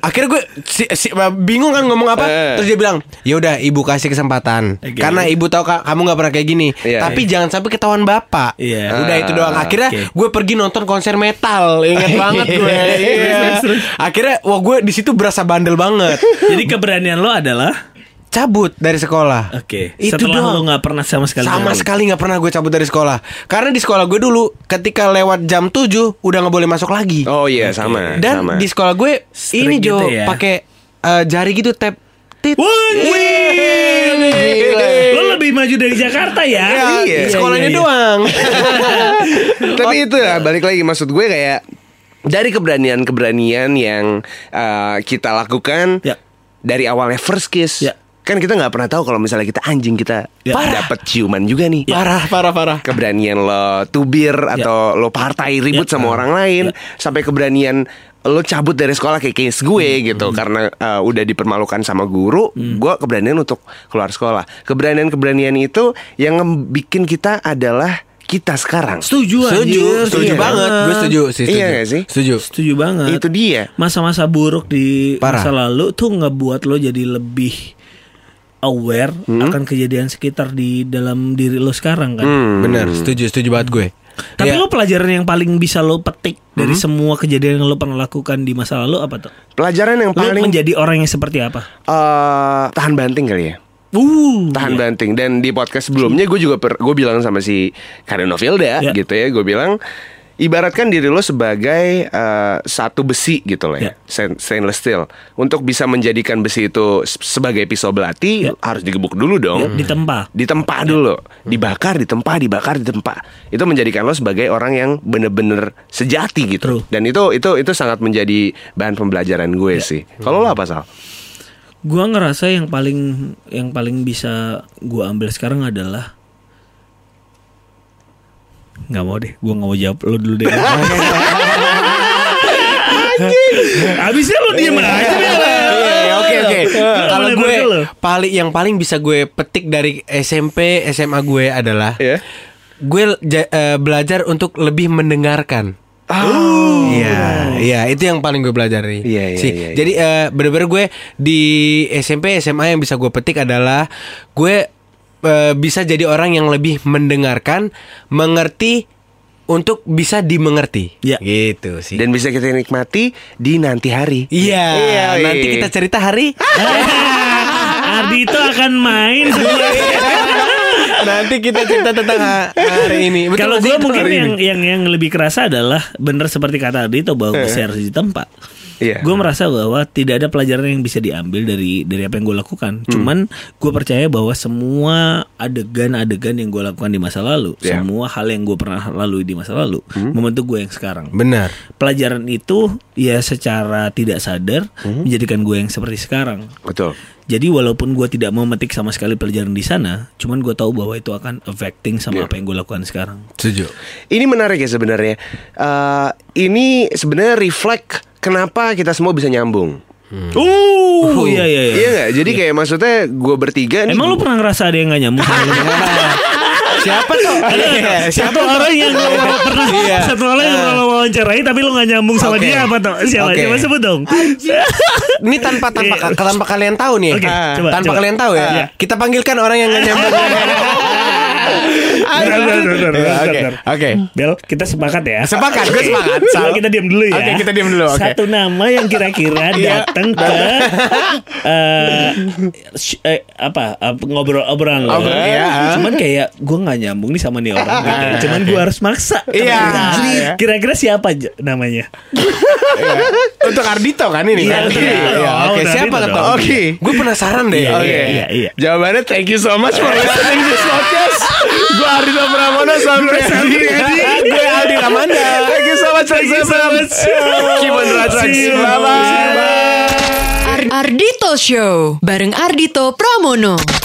Akhirnya gue si, si- bingung kan ngomong apa. Eh. Terus dia bilang, ya udah ibu kasih kesempatan. Oke. Karena ibu tahu Kak, kamu nggak pernah kayak gini. Iya. Tapi jangan sampai ketahuan bapak. Iya. Udah itu doang. Ah, Akhirnya oke. gue pergi nonton konser metal. Ingat banget gue. Iya. Akhirnya, wah gue di situ berasa bandel banget. Jadi keberanian lo adalah Cabut dari sekolah. Oke Itu Setelah doang. lo nggak pernah sama sekali Sama jalan. sekali nggak pernah gue cabut dari sekolah. Karena di sekolah gue dulu ketika lewat jam 7 udah nggak boleh masuk lagi. oh iya sama Dan sama. di sekolah gue Strict ini Jo gitu ya. pakai eh, jari gitu tap tit. Lo lebih maju dari Jakarta ya Iya, Ya, di Iya. sekolahnya iya, iya. doang. Tapi itu ya balik lagi maksud gue kayak dari keberanian-keberanian yang uh, kita lakukan Ya. dari awalnya first kiss. Ya. Kan kita nggak pernah tahu kalau misalnya kita anjing kita Ya. dapat ciuman juga nih. parah, parah, parah. Ah. Keberanian lo tubir atau lo partai ribut Ya. sama orang lain sampai keberanian lo cabut dari sekolah kayak case Hmm. gue gitu karena uh, udah dipermalukan sama guru, gue keberanian untuk keluar sekolah. Keberanian-keberanian itu yang bikin kita adalah kita sekarang. Setuju Setuju, anjir. setuju Iya. banget. Gue setuju sih, setuju. Iya nggak sih? Setuju. Setuju banget Itu dia. Masa-masa buruk di Parah. masa lalu tuh ngebuat lo jadi lebih aware Hmm? akan kejadian sekitar di dalam diri lo sekarang kan. Bener, setuju, setuju banget gue. Tapi Ya. lo pelajaran yang paling bisa lo petik dari semua kejadian yang lo pernah lakukan di masa lalu apa tuh? Pelajaran yang Lo paling menjadi orang yang seperti apa? eh, tahan banting kali ya. Uh, Tahan banting dan di podcast sebelumnya gue juga per, gue bilang sama si Karino Vilda Ya. gitu ya, gue bilang ibaratkan diri lo sebagai eh, satu besi gitu lah ya, Ya. stain- stainless steel. Untuk bisa menjadikan besi itu se- sebagai pisau belati Ya. harus digebuk dulu dong. Ya, ditempa. Ditempa dulu, dibakar, ditempa, dibakar, ditempa. Itu menjadikan lo sebagai orang yang bener-bener sejati gitu. True. Dan itu itu itu sangat menjadi bahan pembelajaran gue sih. Kalau lo apa Sal? gua ngerasa yang paling yang paling bisa gua ambil sekarang adalah nggak mau deh, gua nggak mau jawab lo dulu deh. Abisnya lo diem aja Bel. Iya, iya, Oke oke. Boleh, Kalau boleh, gue boleh. paling yang paling bisa gue petik dari SMP SMA gue adalah Iya. gue ja- eh, belajar untuk lebih mendengarkan. Ah. Iya, iya itu yang paling gue pelajari. Iya, iya, sih. iya, iya. Jadi eh, bener-bener gue di SMP SMA yang bisa gue petik adalah gue eh, bisa jadi orang yang lebih mendengarkan, mengerti untuk bisa dimengerti. Iya. Gitu sih. dan bisa kita nikmati di nanti hari. Iya, Iya, nanti iya. kita cerita hari Ardito akan main sebelum- Nanti kita cerita tentang ha- hari ini. Betul Kalau gak sih gue itu mungkin hari yang, ini? Eh. yang yang lebih kerasa adalah bener seperti kata Adito bahwa saya harus di tempat. Iya. Gue merasa bahwa tidak ada pelajaran yang bisa diambil dari dari apa yang gue Hmm. lakukan. Cuman gue percaya bahwa semua adegan-adegan yang gue lakukan di masa lalu, Iya. semua hal yang gue pernah lalui di masa lalu, Hmm. membentuk gue yang sekarang. benar. Pelajaran itu ya secara tidak sadar Hmm. menjadikan gue yang seperti sekarang. Betul. Jadi walaupun gue tidak mau memetik sama sekali pelajaran di sana, cuman gue tahu bahwa itu akan affecting Iya. sama apa yang gue lakukan sekarang. Setuju. Ini menarik ya sebenarnya. Eh, ini sebenarnya reflect kenapa kita semua bisa nyambung. Oh, iya iya iya. Iya kan? nggak? Jadi kayak maksudnya gue bertiga nih. Emang lu pernah ngerasa ada yang gak nyambung? sama lu? Siapa tuh? Iya, Siapa satu orang yang lu pernah Iya. satu orang yang lu wawancarai tapi lu gak nyambung sama Oke. dia apa tuh? Siapa? Oke. Coba sebut dong. Ini tanpa tanpa Iya. tanpa kalian tahu nih. Oke, Ah. coba, tanpa coba. kalian tahu ya. Iya. Kita panggilkan orang yang gak nyambung. Bentar, bentar, bentar, Iya, bentar, Oke. bentar. Oke. Bel, kita sepakat ya. Sepakat, gue sepakat. Coba Sal. kita diam dulu ya. Oke, kita diam dulu, oke. Iya. Satu nama yang kira-kira datang ke eh, sh- eh, apa eh, ngobrol obrolan lo. Obrol, ya. Cuman kayak gue nggak nyambung nih sama nih orang. gitu. Ah, Cuman gue harus maksa. Iya, Nah, iya. Kira-kira siapa j- namanya? Untuk Ardito kan ini Iya, kan? untuk Iya, Ardito. iya. Oke, Untuk siapa Ardito ketua? dong. Oke. Gue penasaran deh. Iya, Oke. iya, iya, iya. Jawabannya thank you so much for listening this podcast. Gue Arito Pramono sampai Gue Aldi Ramanda. Thank you so much. Thank you so much. Keep on the tracks. See you. Bye-bye. Ar- Ardito Show bareng Ardito Pramono.